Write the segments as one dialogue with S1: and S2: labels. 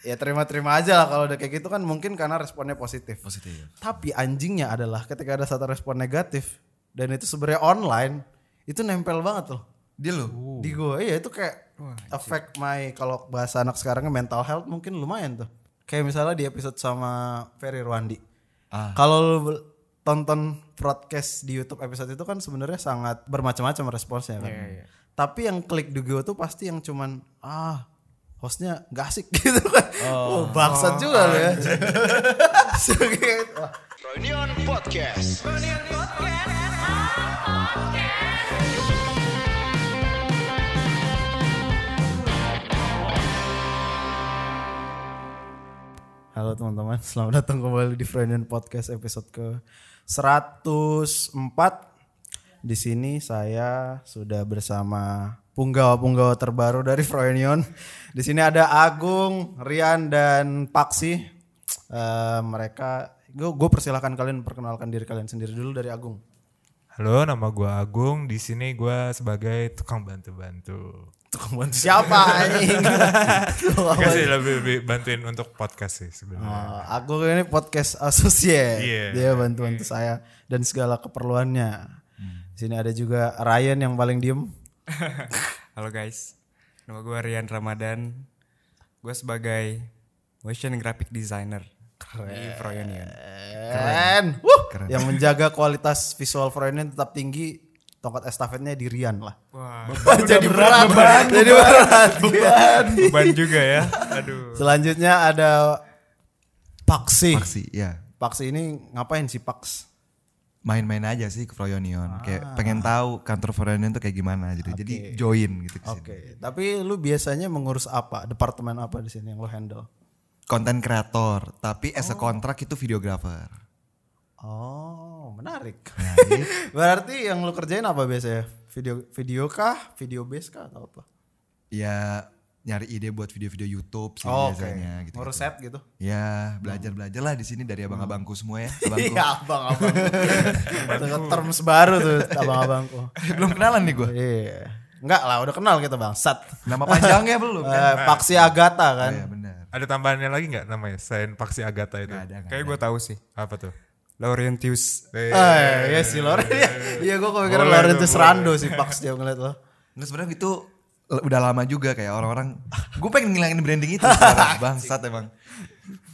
S1: ya terima-terima aja lah kalau udah kayak gitu kan mungkin karena responnya positif.
S2: Positif.
S1: Tapi anjingnya adalah ketika ada satu respon negatif dan itu sebenarnya online, itu nempel banget loh
S2: Dia loh.
S1: di gue. Iya itu kayak affect my kalau bahasa anak sekarang ya, mental health mungkin lumayan tuh. Kayak misalnya di episode sama Ferry Rwandi.
S2: Ah.
S1: Kalau lu be- tonton broadcast di YouTube episode itu kan sebenarnya sangat bermacam-macam responsnya kan. Tapi yang klik di gue tuh pasti yang cuman ah hostnya gak asik gitu kan. Oh, bangsat juga lu ya. So, kayak, wah,
S3: Reunion Podcast.
S1: Halo teman-teman, selamat datang kembali di Friendin Podcast episode ke 104. Di sini saya sudah bersama punggawa-punggawa terbaru dari Froynion. Di sini ada Agung, Rian dan Paksi. Eh, mereka gue persilahkan kalian perkenalkan diri kalian sendiri dulu dari Agung.
S4: Halo, nama gue Agung. Di sini gue sebagai tukang bantu-bantu.
S1: Tukang bantu siapa anjing? Tukang
S4: Enggak
S1: bantu.
S4: sih lebih, lebih bantuin untuk podcast sih sebenarnya.
S1: Oh, aku ini podcast associate.
S4: Iya.
S1: Dia bantu-bantu saya dan segala keperluannya. Di sini ada juga Ryan yang paling diem.
S5: Halo guys, nama gue Rian Ramadan. Gue sebagai motion graphic designer di Froyonion.
S1: Keren. Wuh, Yang menjaga kualitas visual Froynion tetap tinggi. Tongkat estafetnya di Rian lah.
S4: Wah,
S1: jadi berat, jadi berat. Iya.
S4: beban juga ya. Aduh.
S1: Selanjutnya ada Paksi. Paksi.
S2: Aksi, ya.
S1: ini ngapain sih Paks?
S2: Main-main aja sih ke
S1: Ah.
S2: Froyonion. Kayak pengen tahu kantor Froyonion tuh kayak gimana gitu. Jadi join gitu ke sini.
S1: Oke, tapi lu biasanya mengurus apa? Departemen apa di sini yang lu handle?
S2: Konten kreator, tapi as a kontrak itu videographer.
S1: Oh, menarik. Berarti yang lu kerjain apa biasanya? Video video kah? Video base kah atau apa?
S4: Iya,
S2: Ya nyari ide buat video-video YouTube sih
S1: Oh, Oke.
S2: biasanya gitu.
S1: Ngurus set gitu.
S2: Ya, belajar-belajar lah di sini dari abang-abangku semua ya. Abangku.
S1: Iya, abang-abang. Dengan terms baru tuh abang-abangku.
S2: Belum kenalan nih gue.
S1: Iya. Enggak lah, udah kenal kita bangsat.
S2: Nama panjangnya belum kan?
S1: Eh, Paksi Agata kan.
S2: Ya benar.
S4: Ada tambahannya lagi nggak namanya? Selain Paksi Agatha itu.
S2: Nggak ada, nggak
S5: Kayak gue tahu sih,
S4: Apa tuh?
S5: Laurentius.
S4: Eh,
S1: Eh, ya si Loren. Iya, gua kepikiran
S4: Boleh
S1: Loren
S4: tuh,
S1: tuh
S4: boleh.
S1: serando sih Paks dia ngeliat lo.
S2: Nah sebenarnya itu l- udah lama juga kayak orang-orang. Gue pengen ngilangin branding itu sekarang bangsat emang.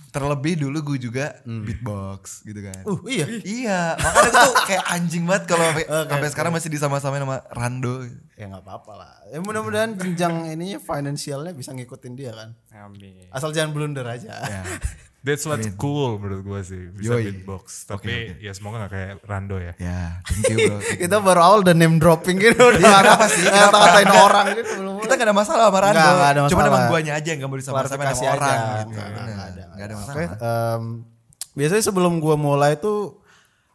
S2: Terlebih dulu gue juga
S1: Hmm.
S2: beatbox gitu kan.
S1: Uh, iya.
S2: Iya, makanya gue tuh kayak anjing banget kalau sampai sampai sekarang masih disama-samain sama Rando.
S1: Ya nggak apa-apa lah. Ya mudah-mudahan jenjang ininya finansialnya bisa ngikutin dia kan.
S4: Iya.
S5: Amin.
S1: Asal jangan blunder aja.
S2: Ya.
S4: That's what's cool menurut gue sih. Bisa
S2: Yoi.
S4: beatbox. Tapi ya semoga nggak kayak Rando ya.
S2: ya, thank you bro. Thank you.
S1: kita baru awal udah name dropping gitu udah
S2: kenapa sih? Kenapa?
S1: kata-katain orang gitu belum
S2: Kita gak ada masalah sama Rando.
S1: Nggak, nggak ada
S2: Cuma
S1: masalah.
S2: emang guanya aja yang gak mau disama-samain sama
S1: klarifikasi aja
S2: orang.
S1: gitu.
S2: Gitu.
S1: Nggak
S2: Bener.
S1: ada,
S2: Nggak ada
S1: Oke,
S2: masalah.
S1: em, biasanya sebelum gua mulai tuh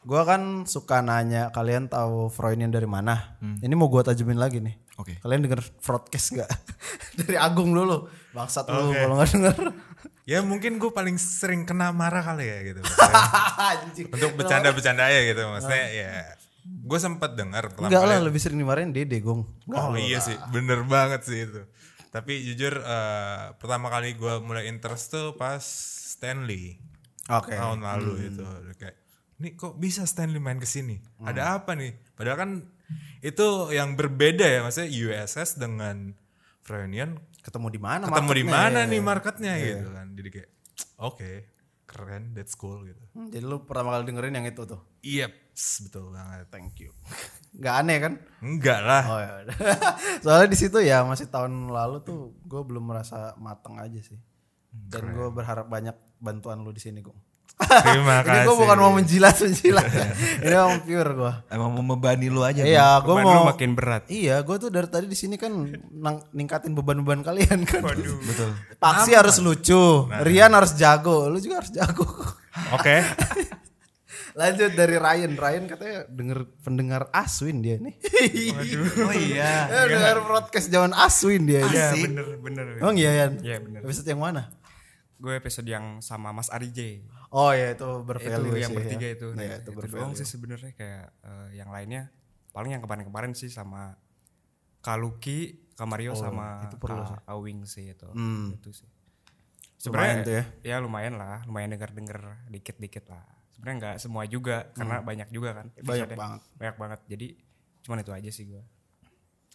S1: gua kan suka nanya kalian tahu Freudian dari mana ini mau gua tajemin lagi nih
S2: Oke.
S1: kalian denger broadcast gak dari Agung dulu bangsat lu kalau nggak denger
S4: Ya mungkin gue paling sering kena marah kali ya gitu.
S1: Anjing.
S4: Untuk bercanda-bercanda ya gitu. Maksudnya ya. Gue sempet dengar pertama
S1: enggak
S4: kali
S1: lah lebih sering dimarahin Dede gong Nggak
S4: Oh
S1: lu.
S4: iya sih, bener banget sih itu. Tapi jujur eh, pertama kali gua mulai interest tuh pas Stanley
S1: oke Hmm.
S4: tahun lalu itu kayak, nih kok bisa Stanley main kesini?
S1: Hmm.
S4: Ada apa nih? Padahal kan itu yang berbeda ya, maksudnya USS dengan Reunion
S1: ketemu di mana
S4: ketemu di
S1: marketnya? iya,
S4: mana nih marketnya gitu kan? Jadi kayak, oke, keren, that's cool gitu.
S1: Hmm, jadi lu pertama kali dengerin yang itu tuh
S4: Iya, betul banget.
S1: thank you nggak aneh kan
S4: Enggak lah.
S1: Oh ya. udah. Soalnya di situ ya masih tahun lalu tuh gue belum merasa mateng aja sih. Dan gue berharap banyak bantuan lu di sini, Gung.
S4: Terima
S1: Ini
S4: kasih.
S1: gue bukan mau menjilat menjilat. Ini emang pure gue.
S2: Emang mau membebani lu aja. Bro.
S1: Iya, gue
S5: Beban
S1: mau.
S5: lu makin berat.
S1: Iya, gue tuh dari tadi di sini kan nang- ningkatin beban-beban kalian kan.
S2: Betul.
S1: Paksi harus lucu, Rian harus jago, lu juga harus jago.
S4: Oke.
S1: Lanjut dari Ryan, Ryan katanya denger pendengar Aswin dia nih.
S2: Oh iya.
S1: Eh, dengar podcast zaman Aswin dia. ini.
S5: Iya
S2: Asik.
S5: bener bener.
S1: Emang iya, Yan?
S5: Iya, bener.
S1: Episode yang mana?
S5: Gue episode yang sama Mas Arije.
S1: Oh ya itu
S5: Itu
S1: bervalue sih.
S5: yang bertiga
S1: ya.
S5: itu.
S1: Iya,
S5: Nah,
S1: itu
S5: itu doang
S1: bervalue.
S5: sih sebenarnya kayak eh, yang lainnya paling yang kemarin-kemarin sih
S1: Oh,
S5: sama Kaluki, Kamario sama itu Awing sih itu. Itu sih.
S1: Hmm. Lumayan
S5: Sebenarnya
S1: tuh ya.
S5: lumayan lah, lumayan denger-denger dikit-dikit lah. Sebenarnya nggak semua juga karena banyak juga kan.
S1: Hmm. Banyak
S5: episode-nya.
S1: banget.
S5: Banyak banget. Jadi cuman itu aja sih gua.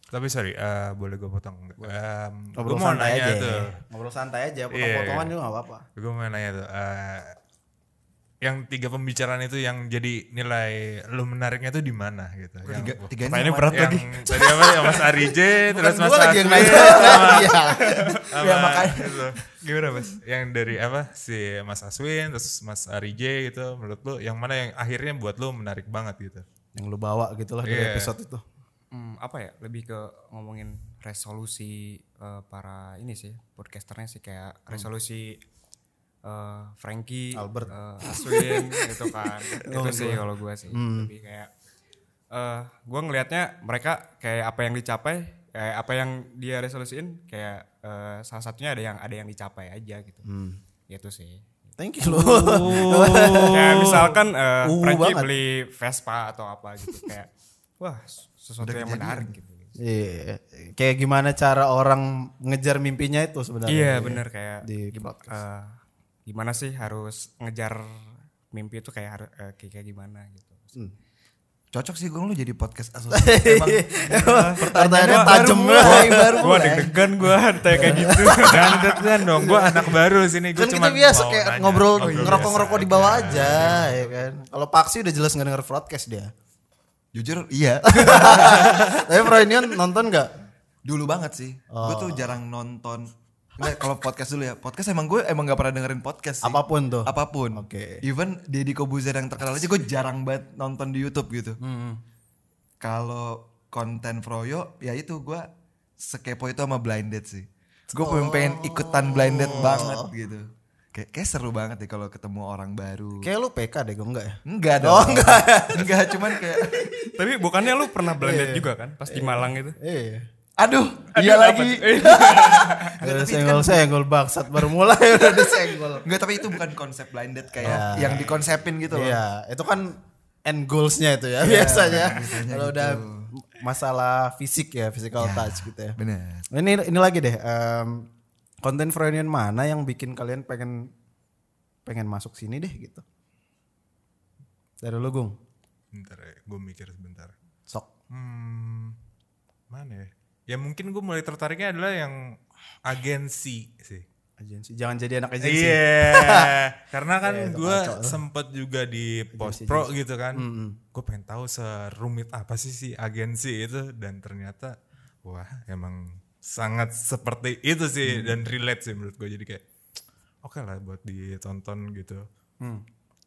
S4: Tapi sorry, eh, boleh gue potong nggak? Em, gue
S1: Ngobrol
S4: mau
S1: santai
S4: nanya
S1: aja. ya.
S4: tuh.
S1: Ngobrol santai aja, potong-potongan juga gak apa-apa.
S4: Gue mau nanya tuh. eh, yang tiga pembicaraan itu yang jadi nilai lu menariknya tuh di mana gitu? Yang,
S2: Tiga, tiga
S1: Nah,
S5: Pertanyaannya
S2: ini sama-
S5: berat
S4: yang
S5: lagi.
S4: tadi apa ya Mas Arije, terus Mas
S1: Kan Gua lagi yang
S4: Asli,
S1: nanya. Iya.
S4: sama- gitu. Gimana mas? Yang dari apa si Mas Aswin, terus Mas Arije gitu, menurut lu yang mana yang akhirnya buat lu menarik banget gitu?
S1: Yang lu bawa gitu lah dari
S4: Iya.
S1: episode itu.
S5: Hmm, apa ya? Lebih ke ngomongin resolusi eh, para ini sih podcasternya sih kayak resolusi eh, Frankie,
S1: Albert.
S5: eh, Aswin gitu kan. itu sih kalau gua sih lebih kayak eh gua ngelihatnya mereka kayak apa yang dicapai, kayak apa yang dia resolusiin kayak eh, salah satunya ada yang ada yang dicapai aja gitu. Gitu sih.
S1: Thank you lu.
S5: Kayak misalkan eh,
S1: Oh. Uh,
S5: Frankie
S1: banget.
S5: beli Vespa atau apa gitu kayak wah sesuatu yang menarik gitu.
S1: Iya. Kayak gimana cara orang ngejar mimpinya itu sebenarnya.
S4: ya,
S5: Iya bener kayak
S1: Di
S5: gim-
S1: podcast.
S5: eh, gimana sih harus ngejar mimpi itu kayak harus kayak kayak gimana gitu.
S4: Hmm.
S2: Cocok sih gue lu jadi podcast asosiasi. Emang
S1: Pertanyaannya tajam
S2: baru mulai, baru
S5: Gua
S2: mulai.
S5: deg-degan gue kayak gitu.
S4: Dan dan dong, gue anak baru sini.
S1: Kan
S4: Gue
S1: kita biasa kayak ngobrol ngerokok-ngerokok di bawah aja, ya kan. Kalau Paksi udah jelas nggak denger podcast dia.
S2: Jujur iya.
S1: Tapi Froynion nonton nggak?
S2: Dulu banget sih. Gue
S1: Oh.
S2: tuh jarang nonton. Enggak, kalau podcast dulu ya. Podcast emang gue emang gak pernah dengerin podcast sih.
S1: Apapun tuh.
S2: Apapun.
S1: Oke.
S2: Even Deddy Kobuzer yang terkenal aja gue jarang banget nonton di YouTube gitu. Kalau konten Froyo ya itu gue sekepo itu sama Blinded sih. Gue
S1: Oh.
S2: pengen ikutan Blinded banget gitu. Kayak, kayak seru banget deh kalau ketemu orang baru.
S1: Kayak lu PK deh, gue enggak ya?
S2: Enggak dong. enggak. enggak, cuman kayak
S5: Tapi bukannya lu pernah
S4: Iya.
S5: blended juga kan pas di Malang itu?
S1: Iya.
S2: aduh, iya lagi.
S1: Ada senggol-senggol bangsat baru mulai udah disenggol.
S2: Iya, Enggak, tapi itu bukan konsep blinded kayak yang dikonsepin gitu loh.
S1: Iya, itu kan end goals-nya itu ya biasanya. gitu. Kalau udah masalah fisik ya, physical touch gitu ya.
S2: Bener.
S1: Ini ini lagi deh em, konten Freudian mana yang bikin kalian pengen pengen masuk sini deh gitu. Dari lu Gung.
S4: Bentar ya, gue mikir sebentar.
S1: Sok.
S4: Hmm, mana ya? Ya mungkin gue mulai tertariknya adalah yang agensi sih.
S1: Agensi. Jangan jadi anak agensi.
S4: Iya, karena kan gue sempet juga di post pro gitu kan. Gue pengen tahu serumit apa sih si agensi itu dan ternyata wah emang sangat seperti itu sih dan relate sih menurut gue jadi kayak oke lah buat ditonton gitu.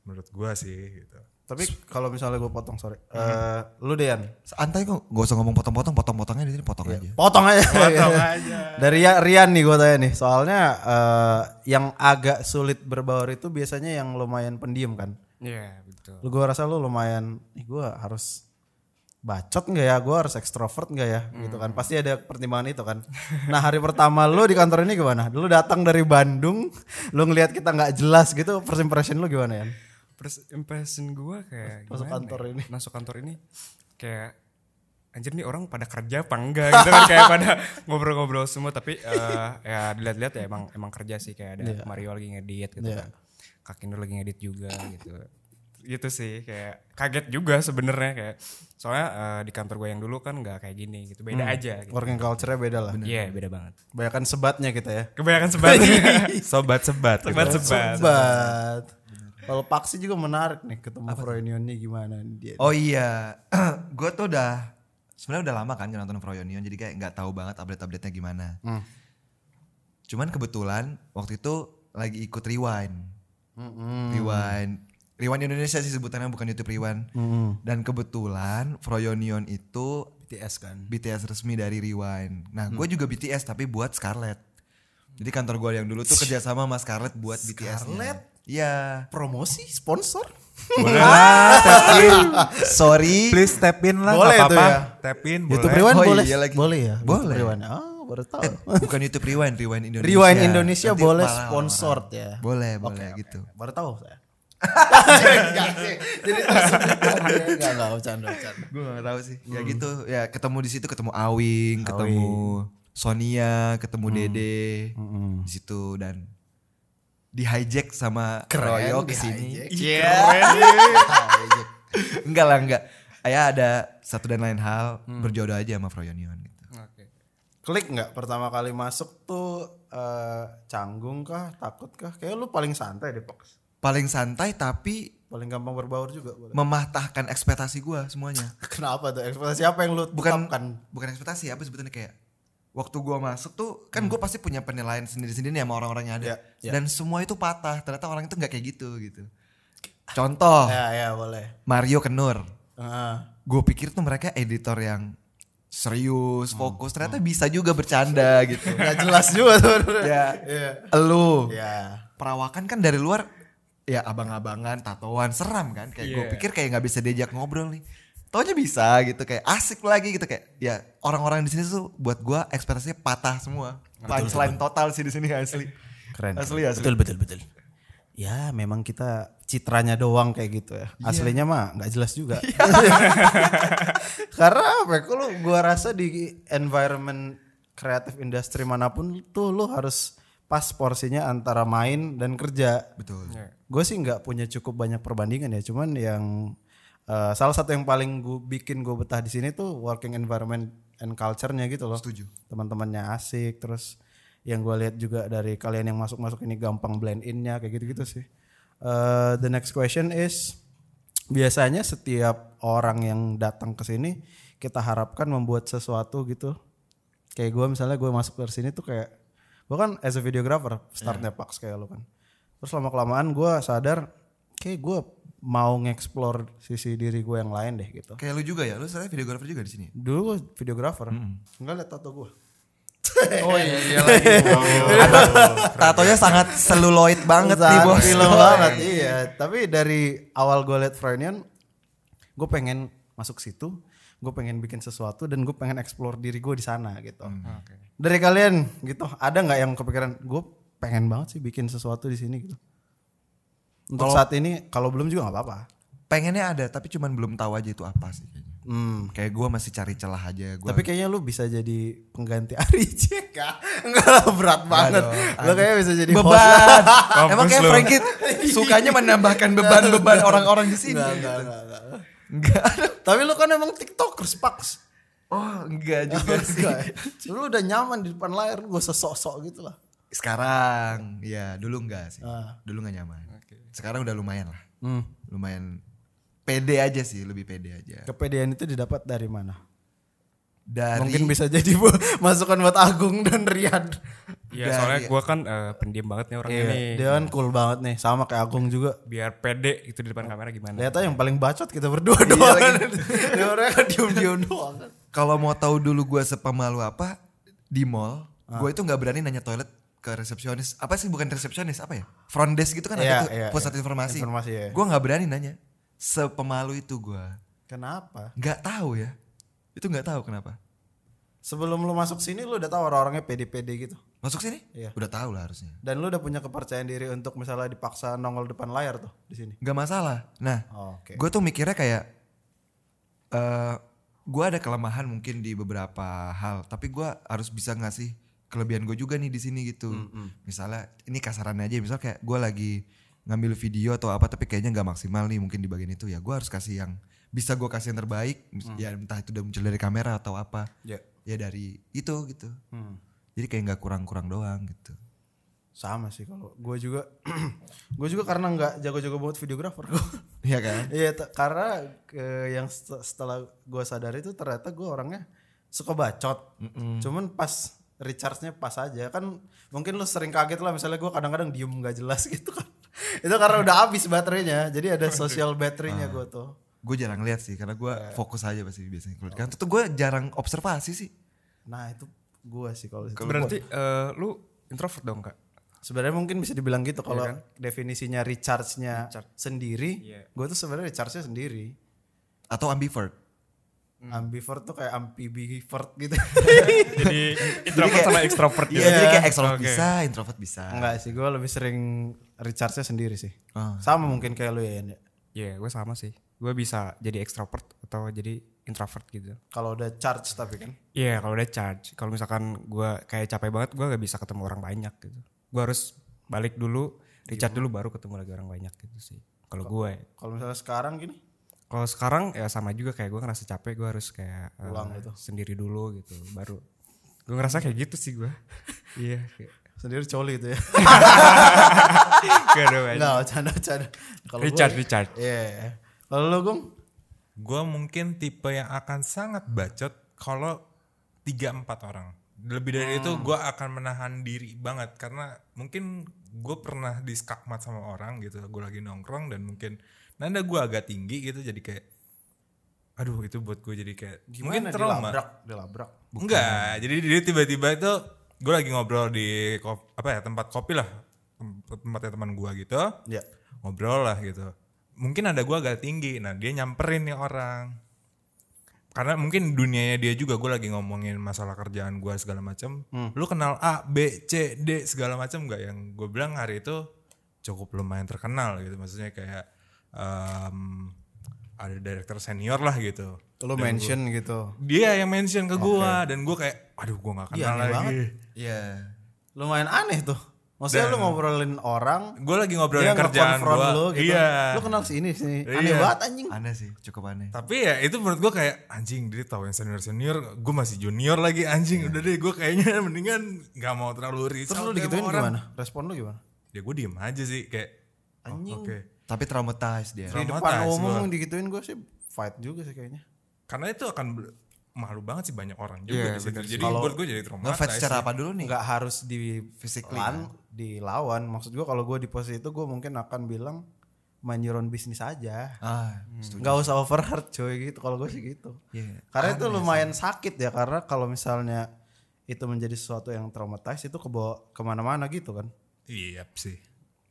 S4: Menurut gue sih gitu.
S1: Tapi kalau misalnya gue potong sorry. Eh lu Dean.
S2: Santai kok, gak usah ngomong potong-potong, potong-potongnya di sini potong
S4: Ya,
S2: aja.
S1: Potong aja. Potong aja. Dari Ria- Rian nih gue tanya nih. Soalnya eh, yang agak sulit berbaur itu biasanya yang lumayan pendiam kan.
S5: Iya betul.
S1: Lu gue rasa lu lumayan. Ih gue harus bacot nggak ya? Gue harus ekstrovert nggak ya? Gitu kan. Pasti ada pertimbangan itu kan. Nah hari pertama lu di kantor ini gimana? Lu datang dari Bandung. Lu ngelihat kita nggak jelas gitu. First impression lu gimana ya?
S5: First impression gue kayak
S1: Masuk
S5: gimana
S1: kantor
S5: ya?
S1: ini.
S5: Masuk kantor ini kayak anjir nih orang pada kerja apa enggak gitu kan kayak pada ngobrol-ngobrol semua tapi eh, ya dilihat-lihat ya emang emang kerja sih kayak ada Mario lagi ngedit gitu kan. Kak Indo lagi ngedit juga gitu. Gitu sih kayak kaget juga sebenarnya kayak soalnya eh, di kantor gue yang dulu kan nggak kayak gini gitu beda aja gitu.
S1: Working culture-nya beda lah.
S5: Iya, beda banget.
S1: Kebanyakan sebatnya kita ya.
S5: Kebanyakan sebat.
S4: Sobat-sobat. gitu.
S5: Sebat-sebat.
S1: Sebat. Kalau Paksi juga menarik nih ketemu Froinionnya gimana nih dia.
S2: Oh iya, gue tuh udah sebenarnya udah lama kan nggak nonton Froyonion jadi kayak nggak tahu banget update-update-nya gimana.
S1: Hmm.
S2: Cuman kebetulan waktu itu lagi ikut rewind,
S1: Hmm.
S2: rewind, rewind Indonesia sih sebutannya bukan YouTube rewind.
S1: Hmm.
S2: Dan kebetulan Froyonion itu
S1: BTS kan. Hmm.
S2: BTS resmi dari rewind. Nah gue juga BTS tapi buat Scarlett. Jadi kantor gue yang dulu tuh kerjasama sama Scarlett buat BTS.
S1: Scarlett?
S2: Iya.
S1: Promosi sponsor.
S4: Boleh lah, tap in.
S2: Sorry.
S4: Please tap in lah,
S1: Boleh
S4: nggak
S1: tuh
S4: apa-apa.
S1: ya.
S4: Tap in,
S1: YouTube
S4: boleh.
S1: Rewind
S2: Oh
S1: boleh.
S2: iya lagi.
S1: Boleh ya.
S2: Boleh.
S1: YouTube Rewind. Ah, baru tahu.
S2: Bukan YouTube Rewind, Rewind Indonesia.
S1: Rewind Indonesia
S2: Nanti
S1: boleh
S2: malah orang-orang.
S1: sponsored ya.
S2: Boleh, boleh gitu.
S1: Baru tahu saya. Enggak sih. Jadi enggak enggak bercanda bercanda.
S2: Gue gak tau sih. Ya gitu, ya ketemu di situ ketemu Awing, Hmm.
S1: Hmm.
S2: ketemu Sonia, ketemu Dede di situ dan di hijack sama
S1: ya,
S2: Royo ke sini.
S5: Iya.
S2: enggak lah enggak. Ya ada satu dan lain hal
S1: Hmm.
S2: berjodoh aja sama Froyonion gitu.
S5: Oke.
S1: Klik nggak pertama kali masuk tuh eh, canggung kah, takut kah? Kayak lu paling santai deh, Pox.
S2: Paling santai tapi
S1: Paling gampang berbaur juga. boleh.
S2: mematahkan ekspektasi gua semuanya.
S1: Kenapa tuh? Ekspektasi apa yang lu
S2: Bukan
S1: tetapkan?
S2: bukan ekspektasi apa sebetulnya kayak waktu gua masuk tuh kan gua pasti punya penilaian sendiri-sendiri nih sama orang-orang yang ada.
S1: Hmm. Ya, ya.
S2: Dan semua itu patah. Ternyata orang itu nggak kayak gitu gitu. Contoh
S1: Ya, ya boleh.
S2: Mario Kenur.
S1: Heeh.
S2: gue pikir tuh mereka editor yang
S1: Hmm.
S2: serius fokus ternyata bisa juga bercanda gitu
S1: Nggak jelas juga sebenarnya.
S2: ya
S1: Iya.
S2: lu
S1: Ya.
S2: perawakan kan dari luar ya abang-abangan tatoan seram kan kayak
S1: Iya.
S2: gue pikir kayak nggak bisa diajak ngobrol nih taunya bisa gitu kayak asik lagi gitu kayak ya orang-orang di sini tuh buat gue ekspektasinya patah semua punchline total sih di sini asli
S1: Keren.
S2: asli asli
S1: Betul, betul, betul. Ya, memang kita citranya doang kayak gitu ya. Aslinya mah nggak jelas juga. Karena apa? ya, Kalau gua rasa di environment kreatif industri manapun tuh lu harus pas porsinya antara main dan kerja.
S2: betul
S1: Gue sih nggak punya cukup banyak perbandingan ya, cuman yang eh, salah satu yang paling gue bikin gue betah di sini tuh working environment and culture-nya gitu loh.
S2: Setuju.
S1: Teman-temannya asik, terus yang gue lihat juga dari kalian yang masuk-masuk ini gampang blend in-nya kayak gitu-gitu sih. Eh, the next question is biasanya setiap orang yang datang ke sini kita harapkan membuat sesuatu gitu. Kayak gue misalnya gue masuk dari sini tuh kayak gue kan as a videographer startnya Pax kayak lo kan. Terus lama kelamaan gue sadar kayak gue mau nge-explore sisi diri gue yang lain deh gitu.
S2: kayak lu juga ya lu sebenarnya videographer juga di sini ya?
S1: Dulu gue videographer, nggak liat tato gue.
S5: Oh iya iya lagi.
S2: tatonya sangat seluloid banget nih
S1: Sangat
S2: bos
S1: film banget iya tapi dari awal gue liat Freudian gue pengen masuk situ gue pengen bikin sesuatu dan gue pengen explore diri gue di sana gitu dari kalian gitu ada nggak yang kepikiran gue pengen banget sih bikin sesuatu di sini gitu untuk saat ini kalau belum juga nggak apa-apa
S2: Hmm. pengennya ada tapi cuman belum tahu aja itu apa sih kayaknya.
S1: Hmm.
S2: kayak gue masih cari celah aja gua
S1: Tapi kayaknya lu bisa jadi pengganti Ari Cek Enggak lah berat banget. Lu kayaknya bisa jadi host lah.
S2: beban
S4: Kampus
S2: emang kayak
S4: lu.
S2: Frankie sukanya menambahkan beban-beban orang-orang di sini
S1: Enggak,
S2: gitu.
S1: enggak, enggak, enggak. Tapi lu kan emang TikTokers, Paks.
S2: oh enggak juga sih
S1: Enggak ya. Lu udah nyaman di depan layar, gue sesok-sok gitu lah.
S2: sekarang ya dulu enggak sih
S1: Ah.
S2: dulu enggak nyaman sekarang udah lumayan lah
S1: Hmm.
S2: lumayan pede aja sih lebih pede aja
S1: Kepedean itu didapat dari mana?
S2: dari
S1: Mungkin bisa jadi bu, masukan buat Agung dan Rian.
S5: Iya soalnya gue kan eh, pendiam banget nih orangnya nih.
S1: Dia kan cool banget nih, sama kayak Agung juga.
S5: Biar pede gitu di depan kamera gimana?
S1: Ternyata yang paling bacot kita
S2: Iya,
S1: berdua doang. Dia orangnya kan diem-diem doang.
S2: kalau mau tahu dulu gue sepemalu apa di mall
S1: Ah.
S2: gue itu nggak berani nanya toilet ke resepsionis apa sih bukan resepsionis apa ya front desk gitu kan
S1: Iya,
S2: ada tuh
S1: iya,
S2: pusat
S1: iya.
S2: informasi,
S1: Informasi, iya.
S2: gue nggak berani nanya sepemalu itu gue
S1: Kenapa?
S2: nggak tahu ya itu nggak tahu kenapa
S1: Sebelum lu masuk sini lu udah tahu orang-orangnya pede-pede gitu.
S2: masuk sini
S1: Iya.
S2: udah tahu lah harusnya
S1: Dan lu udah punya kepercayaan diri untuk misalnya dipaksa nongol depan layar tuh di sini.
S2: nggak masalah nah
S1: Oh, Oke.
S2: gue tuh mikirnya kayak eh gue ada kelemahan mungkin di beberapa hal tapi gue harus bisa ngasih kelebihan gue juga nih di sini gitu misalnya ini kasarannya aja misalnya kayak gue lagi ngambil video atau apa tapi kayaknya nggak maksimal nih mungkin di bagian itu ya gue harus kasih yang bisa gue kasih yang terbaik
S1: Mm.
S2: mis- ya entah itu udah muncul dari kamera atau apa
S1: Ya.
S2: ya dari itu gitu
S1: Mm.
S2: jadi kayak nggak kurang-kurang doang gitu
S1: Sama sih kalau gue juga gue juga karena nggak jago-jago banget videografer gue.
S2: Iya kan
S1: Iya, te- karena eh, yang set- setelah gue sadari itu ternyata gue orangnya suka bacot. Cuman pas recharge-nya pas aja kan mungkin lu sering kaget lah misalnya gue kadang-kadang diem nggak jelas gitu kan. itu karena udah habis baterainya. Jadi ada social baterainya gue tuh.
S2: gue jarang lihat sih karena gue fokus aja pasti biasanya kalau di kantor tuh gue jarang observasi sih
S1: Nah, itu gue sih kalau itu.
S5: Berarti eh, lu introvert dong kak?
S1: Sebenarnya mungkin bisa dibilang gitu kalau definisinya recharge-nya sendiri,
S5: Iya.
S1: gue tuh sebenarnya recharge-nya sendiri.
S2: atau ambivert
S4: Hmm.
S1: Ambivert tuh kayak amphibivert gitu.
S5: Jadi introvert sama extrovert
S2: Iya,
S5: gitu.
S2: jadi kayak extrovert
S5: Oke.
S2: bisa, introvert bisa.
S1: Enggak sih, gue lebih sering recharge-nya sendiri sih.
S2: Ah.
S1: Sama mungkin kayak lu ya. Yan, ya.
S5: Iya gue sama sih. Gue bisa jadi extrovert atau jadi introvert gitu.
S1: Kalau udah charge tapi kan.
S5: Iya kalau udah charge. Kalau misalkan gue kayak capek banget gue gak bisa ketemu orang banyak gitu. Gue harus balik dulu Richard dulu baru ketemu lagi orang banyak gitu sih. Kalau ya. gue,
S1: Kalau misalnya sekarang gini,
S5: kalau sekarang ya sama juga kayak gue ngerasa capek gue harus kayak eh, sendiri dulu gitu baru gue ngerasa kayak gitu sih gue iya kayak-
S1: sendiri coli itu ya.
S5: gak ada banyak.
S1: Enggak, canda-canda. Kalau
S5: Richard
S1: gua-
S5: Richard
S1: Iya. Kalau lu Gung?
S4: Gue mungkin tipe yang akan sangat bacot kalau 3-4 orang. Lebih dari itu gue akan menahan diri banget karena mungkin gue pernah diskakmat sama orang gitu. Gue lagi nongkrong dan mungkin nanda gue agak tinggi gitu jadi kayak aduh itu buat gue jadi kayak mungkin trauma.
S1: Dilabrak, dilabrak.
S4: Enggak, jadi dia tiba-tiba itu gue lagi ngobrol di ko- apa ya tempat kopi lah Tem- tempatnya teman gue gitu
S1: Iya.
S4: ngobrol lah gitu mungkin ada gue agak tinggi nah dia nyamperin nih orang karena mungkin dunianya dia juga gue lagi ngomongin masalah kerjaan gue segala macam lu kenal A B C D segala macam nggak yang gue bilang hari itu cukup lumayan terkenal gitu maksudnya kayak em, ada director senior lah gitu
S1: Lu mention gitu.
S4: dia yang mention ke gua dan gua kayak aduh gua nggak
S1: Iya,
S4: kenal
S1: aneh
S4: lagi
S2: Iya.
S1: Lumayan aneh tuh. Maksudnya lu ngobrolin orang,
S4: gua lagi
S1: dia
S4: ngobrolin kerjaan
S1: nge-confront
S4: gua
S1: lu gitu.
S4: iya
S1: Lu kenal si ini sih. Aneh
S4: Iya.
S1: banget anjing.
S2: Aneh sih, cukup aneh.
S4: tapi ya itu menurut gua kayak anjing dia tahu yang senior senior gua masih junior lagi anjing udah deh gua kayaknya mendingan nggak mau terlalu
S1: Iya.
S4: risau
S1: Terus lu
S4: kayak
S1: digituin
S4: sama orang.
S1: gimana? Respon lu gimana?
S4: ya gua diem aja sih kayak oh, oke
S2: Tapi traumatized dia.
S1: Di depan
S4: Traumatize
S1: umum
S4: gua.
S1: digituin gue sih fight juga sih kayaknya.
S4: karena itu akan bel- malu banget sih banyak orang juga
S5: Iya,
S4: di situ.
S5: bener sih.
S4: jadi buat gua jadi trauma
S2: Nge-fight secara apa dulu nih?
S1: nggak harus di
S2: Physically,
S1: lan- dilawan maksud gue kalau gue di posisi itu gue mungkin akan bilang mind your own business aja
S2: Ah,
S1: nggak usah overheard cuy gitu kalau gue sih gitu
S2: Iya.
S1: karena itu lumayan sakit ya karena kalau misalnya itu menjadi sesuatu yang traumatized itu kebawa kemana-mana gitu kan
S4: iya sih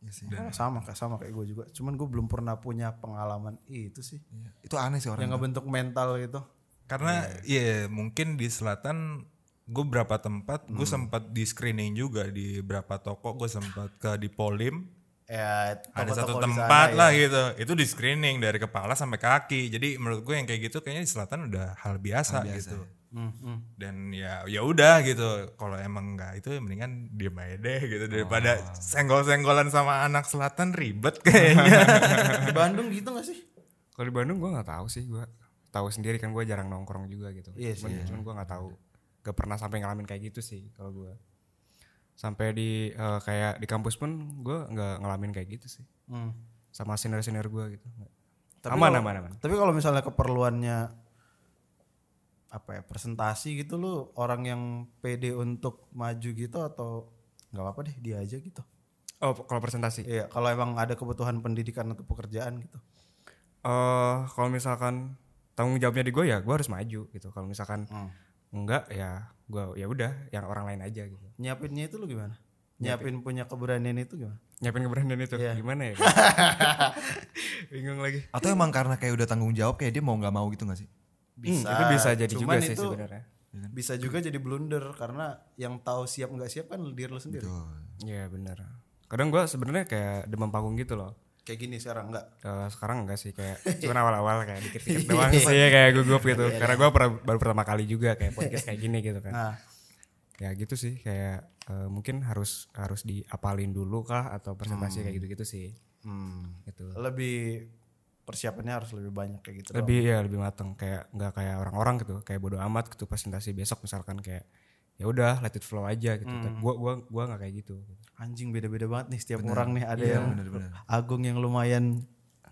S1: Karena sama kayak sama kayak gue juga cuman gue belum pernah punya pengalaman itu sih
S2: iya. itu aneh sih orang.
S1: yang ngebentuk mental gitu
S4: Karena ya mungkin di selatan gue berapa tempat gue sempat di screening juga di berapa toko gue sempat ke di Polim
S1: ya
S4: ada satu
S1: toko-toko di sana
S4: tempat
S1: ya.
S4: lah gitu itu di screening dari kepala sampai kaki jadi menurut gue yang kayak gitu kayaknya di selatan udah hal biasa, gitu dan ya ya udah gitu kalau emang enggak itu ya mendingan diem aja deh gitu daripada senggol-senggolan sama anak selatan ribet kayaknya
S1: di Bandung gitu gak sih
S5: kalau di Bandung gue nggak tahu sih gue tahu sendiri kan gue jarang nongkrong juga gitu
S1: Iya sih,
S5: cuman, cuman gue nggak tahu gak pernah sampai ngalamin kayak gitu sih kalau gue sampai di eh, kayak di kampus pun gue nggak ngalamin kayak gitu sih
S1: Hmm.
S5: sama senior senior gue gitu Nggak.
S1: Tapi
S5: aman
S1: kalau-
S5: aman aman
S1: Tapi kalau misalnya keperluannya apa ya presentasi gitu lu orang yang pede untuk maju gitu atau nggak apa-apa deh dia aja gitu.
S5: oh kalau presentasi
S1: Iya, kalau emang ada kebutuhan pendidikan atau pekerjaan gitu.
S5: eh kalau misalkan tanggung jawabnya di gue ya gue harus maju gitu kalau misalkan
S1: Hmm.
S5: enggak ya gue ya udah yang orang lain aja gitu
S1: Nyiapinnya itu lu gimana? Nyiapin punya keberanian itu gimana?
S5: nyiapin keberanian itu
S1: Iya.
S5: gimana ya bingung lagi
S2: Atau emang karena kayak udah tanggung jawab kayak dia mau nggak mau gitu gak sih?
S5: Hmm, itu bisa jadi juga
S1: Cuman
S5: sih
S1: itu
S5: sebenarnya
S1: Bisa juga jadi blunder karena yang tahu siap nggak siap kan diri lu sendiri.
S5: Iya benar kadang gue sebenarnya kayak demam panggung gitu loh
S1: Kayak gini sekarang nggak?
S5: Eh, sekarang enggak sih kayak cuma awal-awal kayak
S1: Iya.
S5: dikit-dikit doang sih kayak gugup gitu karena gue baru pertama kali juga kayak podcast kayak gini gitu kan
S1: Nah,
S5: ya gitu sih kayak eh, mungkin harus harus diapalin dulu kah atau presentasi
S1: Hmm.
S5: kayak gitu-gitu sih gitu
S1: lebih persiapannya harus lebih banyak kayak gitu.
S5: lebih ya lebih mateng kayak nggak kayak orang-orang gitu kayak bodo amat gitu presentasi besok misalkan kayak ya udah let it flow aja gitu
S1: Hmm.
S5: Tapi gua gua gua nggak kayak gitu
S1: anjing beda-beda banget nih setiap orang nih ada yang
S2: Iya, bener-bener.
S1: Agung yang lumayan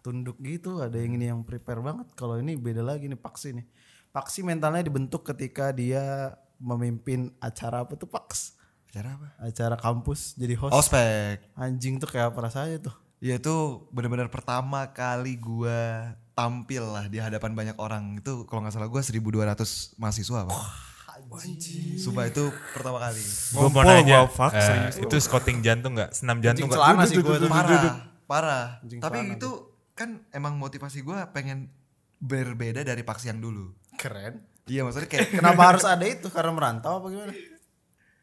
S1: tunduk gitu ada yang ini yang prepare banget kalau ini beda lagi nih Paksi nih Paksi mentalnya dibentuk ketika dia memimpin acara apa tuh Paks
S2: Cara apa?
S1: acara kampus jadi host
S2: Ospek.
S1: anjing tuh kayak apa rasanya tuh
S2: Ya itu benar-benar pertama kali gua tampil lah di hadapan banyak orang itu kalau nggak salah gua 1200 mahasiswa apa? Sumpah itu pertama kali.
S4: gue mau
S5: Ngompol
S4: nanya
S5: gua, fuck,
S4: eh,
S5: serius
S4: itu scouting jantung nggak senam
S1: anjing
S4: jantung nggak
S1: celana sih gue tuh
S2: Parah, parah. Tapi itu kan emang motivasi gua pengen berbeda dari paksi yang dulu.
S1: keren
S2: Iya maksudnya kayak
S1: kenapa harus ada itu karena merantau apa gimana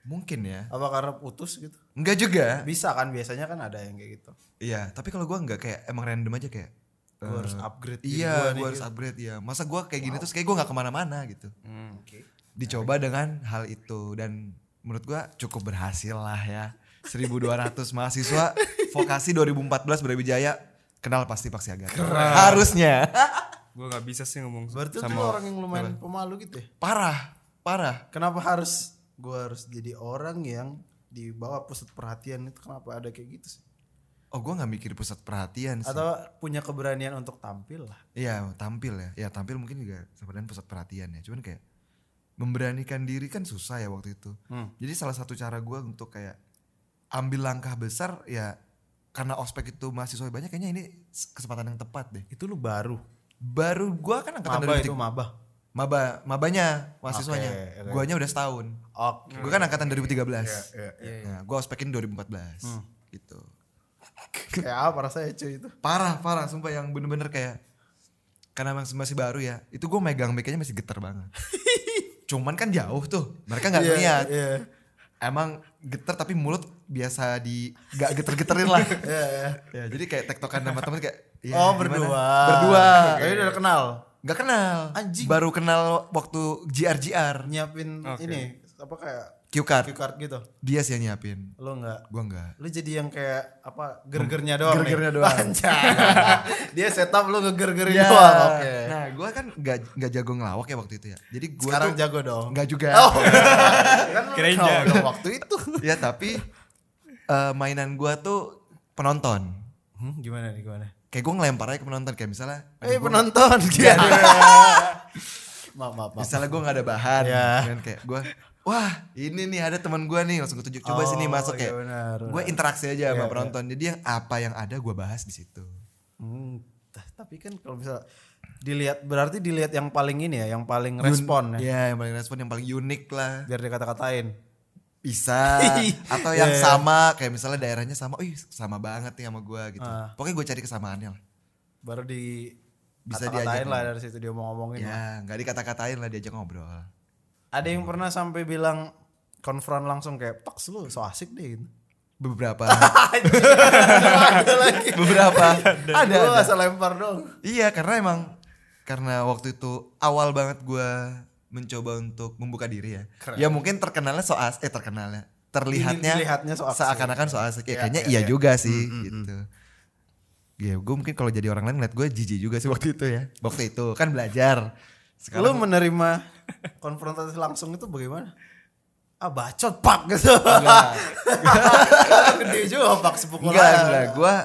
S2: mungkin ya.
S1: apa karena putus gitu
S2: Enggak juga.
S1: bisa kan biasanya kan ada yang kayak gitu
S2: Iya, tapi kalau gua enggak kayak emang random aja kayak
S1: gue harus upgrade diri
S2: Iya,
S1: nih gitu.
S2: gue harus upgrade ya. Masa gue kayak gini terus kayak gue nggak kemana-mana gitu.
S1: Nah, iya.
S2: Dicoba dengan hal itu dan menurut gue cukup berhasil lah ya. 1200 mahasiswa vokasi 2014 Brawijaya kenal pasti Pak Siaga. Harusnya.
S5: Gue nggak bisa sih ngomong
S1: Berarti lu
S5: sama
S1: orang yang lumayan pemalu gitu ya.
S2: Parah, parah.
S1: Kenapa harus gue harus jadi orang yang dibawa pusat perhatian itu kenapa ada kayak gitu sih?
S2: Oh, gua nggak mikir pusat perhatian sih.
S1: Atau punya keberanian untuk tampil lah.
S2: Iya, tampil ya. Ya, tampil mungkin juga sebenarnya pusat perhatian ya. Cuman kayak memberanikan diri kan susah ya waktu itu.
S1: Hmm.
S2: Jadi salah satu cara gua untuk kayak ambil langkah besar ya karena ospek itu mahasiswa banyak kayaknya ini s- kesempatan yang tepat deh.
S1: Itu lu baru.
S2: Baru gua kan angkatan
S1: Maba
S2: 2003.
S1: itu maba.
S2: Maba, mabanya mahasiswanya.
S1: Oke, oke.
S2: Guanya udah setahun.
S1: Oke.
S2: Gue kan angkatan 2013.
S1: iya, Hmm.
S2: Nah, gue ospekin 2014. Gitu.
S1: Kayak apa rasanya cuy itu?
S2: Parah, parah sumpah yang bener-bener kayak karena emang masih baru ya. Itu gue megang mic-nya masih getar banget. Cuman kan jauh tuh. Mereka nggak
S1: Iya,
S2: lihat.
S1: iya.
S2: Emang getar tapi mulut biasa di gak geter-geterin lah. ya, jadi kayak tektokan sama temen kayak
S1: Iya.
S2: ya,
S1: oh
S2: gimana?
S1: berdua.
S2: Berdua. Iya,
S1: Tapi udah kenal.
S2: Gak kenal.
S1: Anjing.
S2: Baru kenal waktu GR-GR.
S1: Nyiapin ini apa kayak
S2: Cue card.
S1: cue card gitu.
S2: Dia sih yang nyiapin.
S1: Lo nggak
S2: Gue enggak.
S1: lu jadi yang kayak apa gergernya doang
S2: Hmm. Gergernya
S1: nih.
S2: doang.
S1: Anjay. dia setup lu ngegergerin
S2: Iya.
S1: doang oke
S2: Nah, gue kan nggak nggak jago ngelawak ya waktu itu ya. Jadi gue
S1: sekarang
S2: tuh
S1: jago Oh. dong
S2: nggak juga.
S1: kan lu
S5: Kirain
S1: kenal
S5: jago.
S1: dong waktu itu
S2: ya tapi eh, mainan gue tuh penonton.
S1: hmm, gimana nih gimana
S2: Kayak gue ngelempar aja ke penonton kayak misalnya.
S1: eh penonton gitu maaf maaf maaf
S2: Misalnya gue nggak ada bahan,
S1: Iya.
S2: kan kayak gue, wah ini nih ada teman gue nih langsung ketunjuk coba
S1: Oh,
S2: sini masuk
S1: iya
S2: ya.
S1: benar,
S2: Gue
S1: benar.
S2: interaksi aja
S1: Iya,
S2: sama
S1: iya.
S2: penonton. Jadi yang apa yang ada gue bahas di situ.
S1: Hmm, tah, tapi kan kalau bisa dilihat berarti dilihat yang paling ini ya yang paling respon ya
S2: Ya yang paling respon yang paling unik lah.
S1: biar dikata-katain
S2: bisa atau yang
S1: Iya.
S2: sama kayak misalnya daerahnya sama, wih sama banget nih sama gue gitu.
S1: Ah.
S2: Pokoknya gue cari kesamaannya lah.
S1: baru di
S2: Bisa
S1: kata-katain
S2: diajak
S1: lah dari situ dia mau ngomongin lah.
S2: Ya nggak dikata-katain lah diajak ngobrol.
S1: ada yang pernah sampai bilang konfront langsung kayak paks lu so asik deh gitu.
S2: Beberapa,
S1: ada lagi
S2: beberapa. ada,
S1: Gua
S2: ada.
S1: asal lempar dong
S2: Iya karena emang karena waktu itu awal banget gue mencoba untuk membuka diri ya. Ya mungkin terkenalnya so as- eh terkenalnya terlihatnya,
S1: Ini dilihatnya so asik.
S2: seakan-akan so asik. Ya, kayaknya iya juga sih gitu. Ya gue mungkin kalau jadi orang lain ngeliat gue jijik juga sih waktu itu ya. Waktu itu kan belajar.
S1: lu menerima konfrontasi langsung itu bagaimana ah bacot pak gitu gede juga pak sepukulan
S2: Enggak, enggak. Gue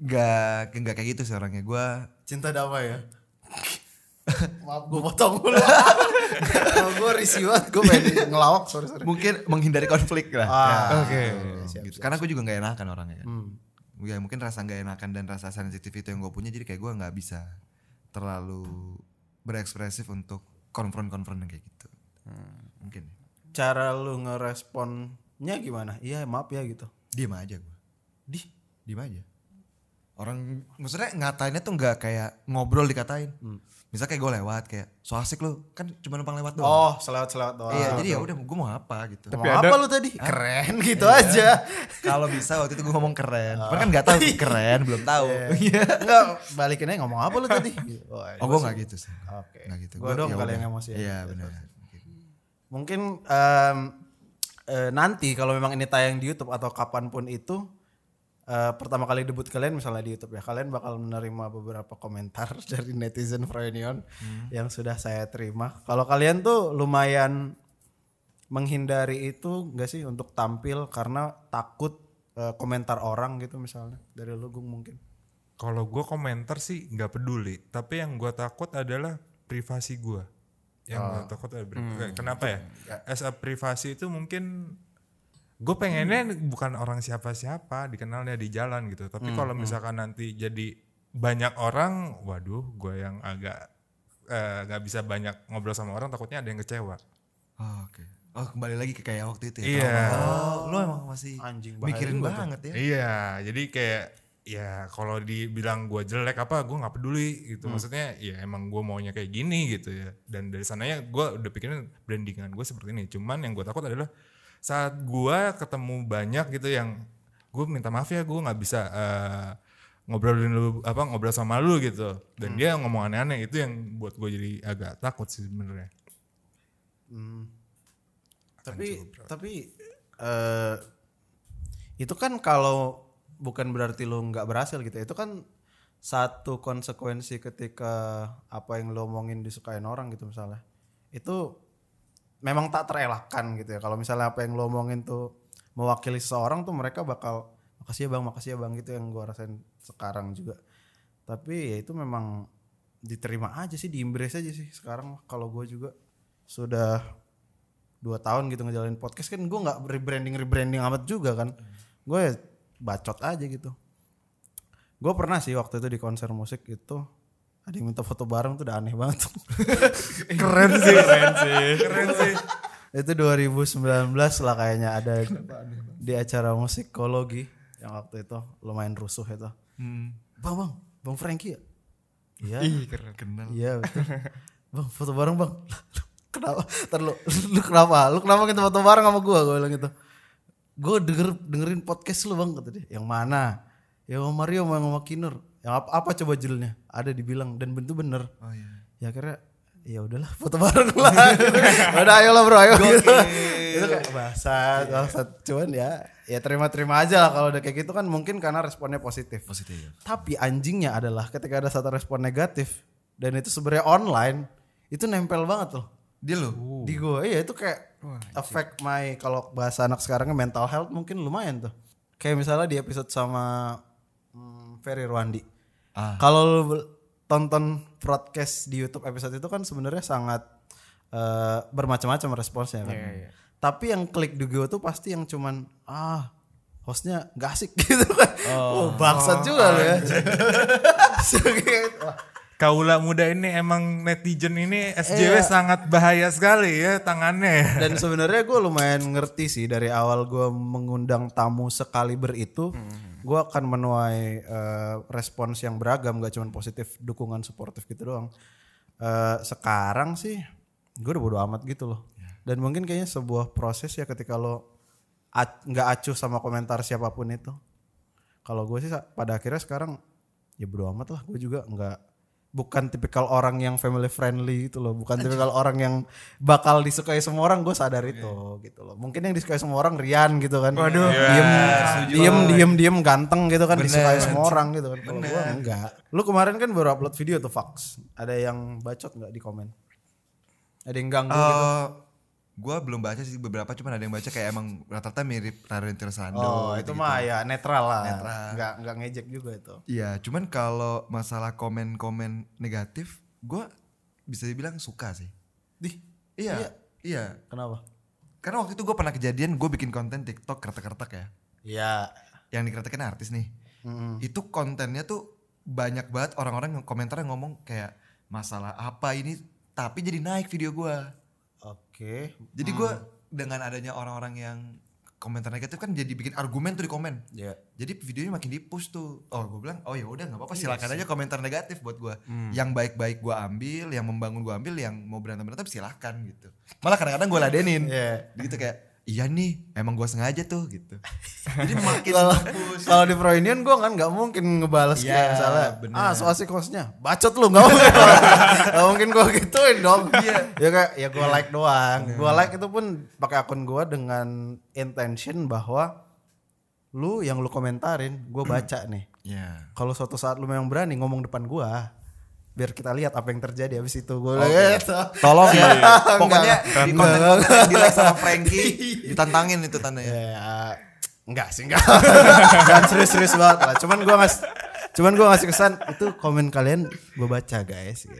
S2: enggak, enggak kayak gitu sih orangnya. Gue
S1: cinta damai ya maaf gue potong dulu kalau gue risih banget gue pengen ngelawak sorry sorry
S2: mungkin menghindari konflik lah.
S1: Ah,
S2: Ya,
S1: oke.
S2: gitu.
S1: Siap,
S2: Gitu. Karena gue juga gak enakan orangnya. kan. Ya mungkin rasa gak enakan dan rasa sensitif itu yang gue punya. Jadi kayak gue gak bisa terlalu berekspresif untuk konfront-konfront yang kayak gitu. Mungkin.
S1: cara lu ngeresponnya gimana iya maaf ya gitu
S2: Diem aja gue. Di? Diem aja. Orang maksudnya ngatainnya tuh gak kayak ngobrol dikatain. Misalnya kayak gue lewat kayak so asik lu kan cuma numpang lewat doang.
S1: oh selewat selewat doang
S2: Iya, jadi ya udah gue mau apa gitu.
S1: Mau
S5: Tapi ada-
S1: apa lu tadi keren
S2: Iya.
S1: gitu aja
S2: Kalau bisa waktu itu gue ngomong keren. Cuman kan nggak tahu tuh keren, belum tahu. Iya.
S1: enggak balikinnya ngomong apa lu tadi Wah,
S2: oh, gue nggak gitu sih.
S1: Oke.
S2: Nggak gitu.
S1: Gua dong kali yang emosi ya.
S2: Iya, benar.
S1: mungkin em, eh, nanti kalau memang ini tayang di YouTube atau kapanpun itu eh, pertama kali debut kalian misalnya di YouTube ya kalian bakal menerima beberapa komentar dari netizen Froynion yang sudah saya terima kalau kalian tuh lumayan menghindari itu enggak sih untuk tampil karena takut eh, komentar orang gitu misalnya dari lugung mungkin
S4: Kalau gue komentar sih nggak peduli, tapi yang gue takut adalah privasi gue. Yang gue takut adalah privasi. Kenapa ya? As a privasi itu mungkin gue pengennya bukan orang siapa-siapa dikenalnya di jalan gitu. Tapi kalau misalkan nanti jadi banyak orang, waduh, gue yang agak eh, nggak bisa banyak ngobrol sama orang, takutnya ada yang kecewa.
S2: Oh, Oke. Oh, kembali lagi ke kayak waktu itu ya.
S4: Iya.
S2: Oh, lu emang masih
S1: Anjing, bahaya
S2: mikirin
S1: juga
S2: banget ya.
S4: Iya, jadi kayak ya kalau dibilang gue jelek apa gue nggak peduli gitu maksudnya ya emang gue maunya kayak gini gitu ya dan dari sananya gue udah pikirin brandingan gue seperti ini cuman yang gue takut adalah saat gue ketemu banyak gitu yang gue minta maaf ya gue nggak bisa eh, ngobrolin lu apa ngobrol sama lu gitu dan dia ngomong aneh-aneh itu yang buat gue jadi agak takut sih sebenarnya
S1: tapi tapi eh itu kan kalau bukan berarti lo nggak berhasil gitu ya. itu kan satu konsekuensi ketika apa yang lo omongin disukain orang gitu misalnya itu memang tak terelakkan gitu ya kalau misalnya apa yang lo omongin tuh mewakili seseorang tuh mereka bakal makasih ya bang makasih ya bang gitu yang gua rasain sekarang juga tapi ya itu memang diterima aja sih diimbres aja sih sekarang mah. kalau gue juga sudah dua tahun gitu ngejalanin podcast kan gue nggak rebranding rebranding amat juga kan gue ya bacot aja gitu gue pernah sih waktu itu di konser musik itu ada yang minta foto bareng tuh udah aneh banget
S4: Keren sih. Keren sih. Keren sih.
S1: itu 2019 lah kayaknya ada di acara musikologi yang waktu itu lumayan rusuh itu
S4: Hmm.
S1: bang bang bang Frankie ya iya
S5: Ih, keren.
S2: Kenal.
S1: Iya betul. bang foto bareng bang. Lah, lu Kenapa? Ntar lu, lu kenapa? Lu kenapa kita foto bareng sama gua? Gua bilang gitu. Gua denger dengerin podcast lu bang kata dia. Yang mana? Ya sama Mario sama, sama Kinur. Yang apa, apa coba judulnya? Ada dibilang dan bentuk bener.
S2: Oh iya.
S1: Ya akhirnya ya udahlah foto bareng lah. Udah ayo lah bro ayo. Gitu. Itu kayak bahasa, bahasa cuman ya ya terima-terima aja lah kalau udah kayak gitu kan mungkin karena responnya positif.
S2: Positif.
S1: Tapi anjingnya adalah ketika ada satu respon negatif dan itu sebenarnya online, itu nempel banget loh
S2: Dia lo.
S1: di gue. Iya itu kayak affect my kalau bahasa anak sekarangnya mental health mungkin lumayan tuh. Kayak misalnya di episode sama hmm, Ferry Rwandi.
S2: Ah.
S1: Kalau lu bel- tonton broadcast di YouTube episode itu kan sebenarnya sangat eh, bermacam-macam responsnya kan. Tapi yang klik di gue tuh pasti yang cuman ah hostnya gak asik gitu kan. Oh, bangsat juga lo ya. Wah,
S4: Kaula muda ini emang netizen ini SJW sangat bahaya sekali ya tangannya.
S1: Dan sebenarnya gue lumayan ngerti sih dari awal gue mengundang tamu sekaliber itu, gue akan menuai eh, respons yang beragam, gak cuma positif, dukungan suportif gitu doang. Eh, sekarang sih gue udah bodo amat gitu loh. Dan mungkin kayaknya sebuah proses ya ketika lo ac- nggak acuh sama komentar siapapun itu. Kalau gue sih sa- pada akhirnya sekarang ya bodo amat lah, gue juga nggak bukan tipikal orang yang family friendly gitu loh bukan tipikal orang yang bakal disukai semua orang gue sadar itu gitu loh mungkin yang disukai semua orang Rian gitu kan waduh diem diem diem diem ganteng gitu kan disukai semua orang gitu kan kalau gue enggak lu kemarin kan baru upload video tuh Fox ada yang bacot nggak di komen ada yang ganggu gitu
S2: Eh, gue belum baca sih beberapa cuman ada yang baca kayak emang rata-rata mirip Raden Tirsanando
S1: oh itu mah ya netral lah
S2: Netral.
S1: nggak nggak ngejek juga itu
S2: Iya, cuman kalau masalah komen-komen negatif, gue bisa dibilang suka sih.
S1: dih
S2: Iya, iya.
S1: kenapa
S2: Karena waktu itu gue pernah kejadian gue bikin konten TikTok kertek-kertek ya,
S1: ya
S2: yang dikeretekin artis nih. Itu kontennya tuh banyak banget orang-orang yang komentar yang ngomong kayak masalah apa ini, tapi jadi naik video gue.
S1: oke
S2: Jadi gue dengan adanya orang-orang yang komentar negatif kan jadi bikin argumen tuh di komen.
S1: ya
S2: Jadi videonya makin di-push tuh. Oh, gue bilang, "Oh ya udah nggak apa-apa, silakan aja komentar negatif buat gua. Yang baik-baik gua ambil, yang membangun gua ambil, yang mau berantem-berantem silakan gitu." Malah kadang-kadang gua ladenin.
S1: Iya.
S2: Gitu kayak, "Iya nih, emang gua sengaja tuh." gitu. Jadi makin
S1: Kalau-
S2: push.
S1: kalau di Proinion gue kan nggak mungkin ngebales
S2: Iya,
S1: kayak misalnya
S2: bener.
S1: ah so asik hostnya bacot lu nggak mungkin nggak mungkin gue gituin dong
S2: Iya.
S1: ya kayak ya gue like doang gue like itu pun pakai akun gue dengan intention bahwa lu yang lu komentarin gue baca nih
S2: Iya.
S1: kalau suatu saat lu memang berani ngomong depan gue biar kita lihat apa yang terjadi habis itu gue
S2: Tolong ya. Pokoknya
S1: Enggak. Iya.
S2: di konten-konten yang di like sama Frankie ditantangin itu tandanya.
S1: Ya, enggak sih enggak. Jangan serius-serius banget lah. Cuman gua ngas cuman gua ngasih kesan itu komen kalian gua baca guys gitu.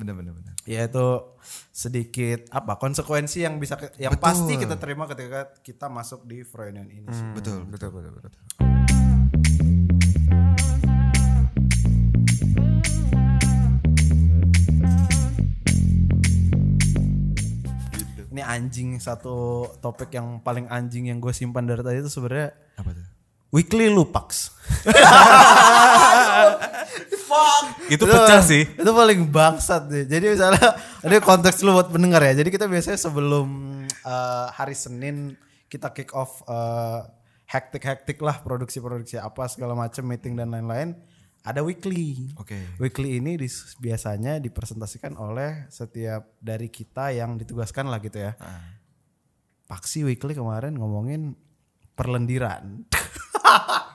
S2: Bener-bener bener.
S1: Ya itu sedikit apa konsekuensi yang bisa ke- yang
S2: Betul.
S1: pasti kita terima ketika kita masuk di Freudian ini. sih.
S2: Betul.
S5: Betul, betul, betul.
S1: Ini anjing satu topik yang paling anjing yang gue simpan dari tadi itu sebenarnya
S2: Apa tuh?
S1: weekly lupax.
S4: Itu pecah sih.
S1: Itu paling bangsat deh. Jadi misalnya ini konteks lu buat pendengar ya. Jadi kita biasanya sebelum eh, hari Senin kita kick off eh, hektik-hektik lah produksi-produksi apa segala macam meeting dan lain-lain. Ada weekly.
S2: Oke.
S1: Weekly ini dis- biasanya dipresentasikan oleh setiap dari
S4: Ah.
S1: kita yang ditugaskan lah gitu ya. Paksi weekly kemarin ngomongin perlendiran.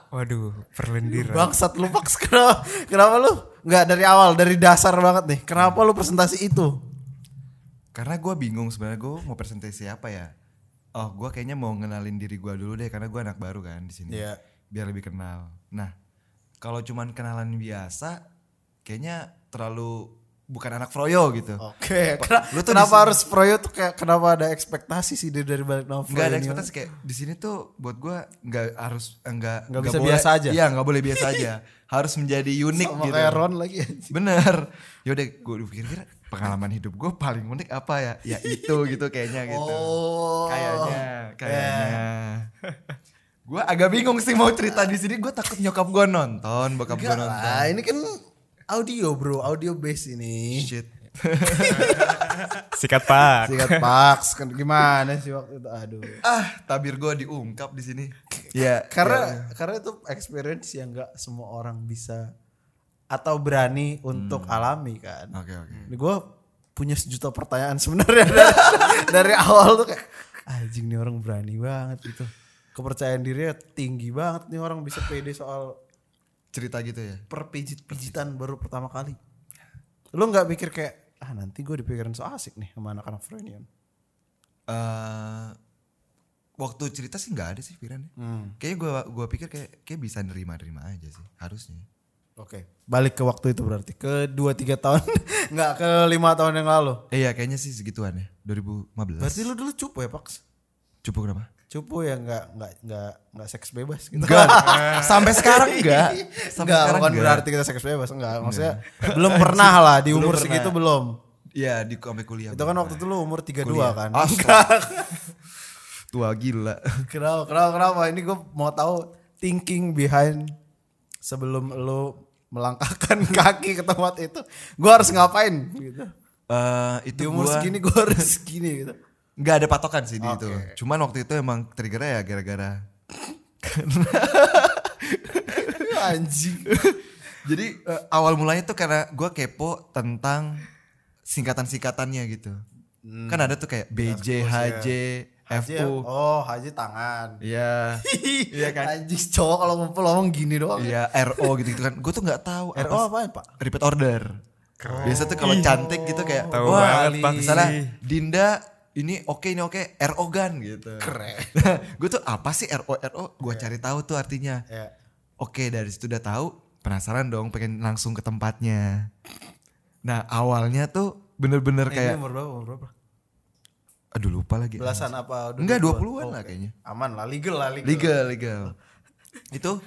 S5: Waduh, perlendiran.
S1: Bangsat lu Pax kenapa, kenapa lu nggak dari awal dari dasar banget nih? Kenapa lu presentasi itu?
S2: Karena gue bingung sebenarnya gue mau presentasi apa ya. Oh gue kayaknya mau ngenalin diri gue dulu deh karena gue anak baru kan di sini.
S1: Iya.
S2: Biar lebih kenal. Nah kalau cuman kenalan biasa kayaknya terlalu bukan anak Froyo gitu.
S1: Oke, kena-
S2: lu tuh
S1: kenapa
S2: disi-
S1: harus proyo tuh kayak kenapa ada ekspektasi sih dari, dari balik novel?
S2: Enggak ada
S1: ini?
S2: ekspektasi kayak di sini tuh buat gua nggak harus enggak
S1: Nggak bisa biasa aja.
S2: Iya, nggak boleh biasa aja. harus menjadi unik
S1: Sama
S2: gitu.
S1: kayak Ron lagi.
S2: Bener. Ya Yaudah gue pikir-pikir pengalaman hidup gue paling unik apa ya? Ya itu gitu kayaknya gitu.
S1: Oh. Eh.
S2: Kayaknya, kayaknya. Gua agak bingung sih mau cerita di sini. Gue takut nyokap gue nonton, bokap gue
S1: Enggak
S2: nonton.
S1: lah, ini kan audio bro, audio base ini.
S2: Shit.
S5: Sikat pak.
S1: Sikat Pax, kan gimana sih waktu itu? Aduh.
S2: Ah, tabir gue diungkap di sini. Iya. iya.
S1: Karena karena itu experience yang nggak semua orang bisa atau berani untuk alami kan.
S2: Oke, oke.
S1: Gue punya sejuta pertanyaan sebenarnya dari, dari awal tuh kayak anjing nih orang berani banget gitu. Kepercayaan dirinya tinggi banget nih orang bisa pede soal
S2: cerita gitu ya.
S1: perpijit-pijitan baru pertama kali. Lu nggak mikir kayak ah nanti gue dipikirin so asik nih sama anak-anak Freudian.
S2: eh waktu cerita sih nggak ada sih pikirannya.
S1: Hmm.
S2: Kayaknya gua gua pikir kayak kayak bisa nerima-nerima aja sih harusnya.
S1: Oke. Balik ke waktu itu berarti ke 2 3 tahun nggak ke lima tahun yang lalu.
S2: Eh, iya kayaknya sih segituan ya. 2015.
S1: Berarti lu dulu cupu ya, Pax?
S2: cupu kenapa?
S1: Cupu ya nggak nggak nggak nggak seks bebas gitu.
S2: Enggak. Sampai sekarang enggak. Sampai
S1: Enggak,
S2: sekarang
S1: bukan
S2: enggak.
S1: berarti kita seks bebas, enggak. Maksudnya belum pernah lah di umur
S2: pernah.
S1: segitu belum.
S2: Iya, di sampai kuliah.
S1: Itu kan waktu itu lu umur 32 kan.
S2: tua gila.
S1: Kenapa, kenapa, kenapa? Ini gue mau tahu thinking behind sebelum lu melangkahkan kaki ke tempat itu. Gue harus ngapain gitu.
S2: Eh, itu
S1: Di umur
S2: gua
S1: segini gue harus segini gitu.
S2: nggak ada patokan sih di itu. Cuman waktu itu emang triggernya ya gara-gara
S1: Anjing.
S2: Jadi eh, awal mulanya tuh karena gue kepo tentang singkatan-singkatannya gitu.
S1: Hmm.
S2: Kan ada tuh kayak BJ, HJ, FU.
S1: ya. Oh, Haji tangan.
S2: Iya.
S1: Iya kan? Anjing cowok kalau ngumpul ngomong gini doang.
S2: Iya, RO gitu, -gitu kan. Gue tuh nggak tahu
S1: RO
S2: apa
S1: apaan, Pak?
S2: repeat order. Biasa tuh kalau cantik gitu kayak
S5: Tahu banget, Pak.
S2: misalnya Dinda ini oke ini oke RO gan gitu.
S1: Keren.
S2: gue tuh apa sih RO RO? Gue cari tahu tuh artinya.
S1: Iya.
S2: Oke dari situ udah tahu penasaran dong pengen langsung ke tempatnya. Nah awalnya tuh bener-bener
S1: Ini
S2: kayak
S1: umur berapa? Umur berapa?
S2: aduh lupa lagi.
S1: Belasan apa?
S2: Enggak 20-an lah kayaknya.
S1: Aman lah, legal lah, legal.
S2: Legal legal. Itu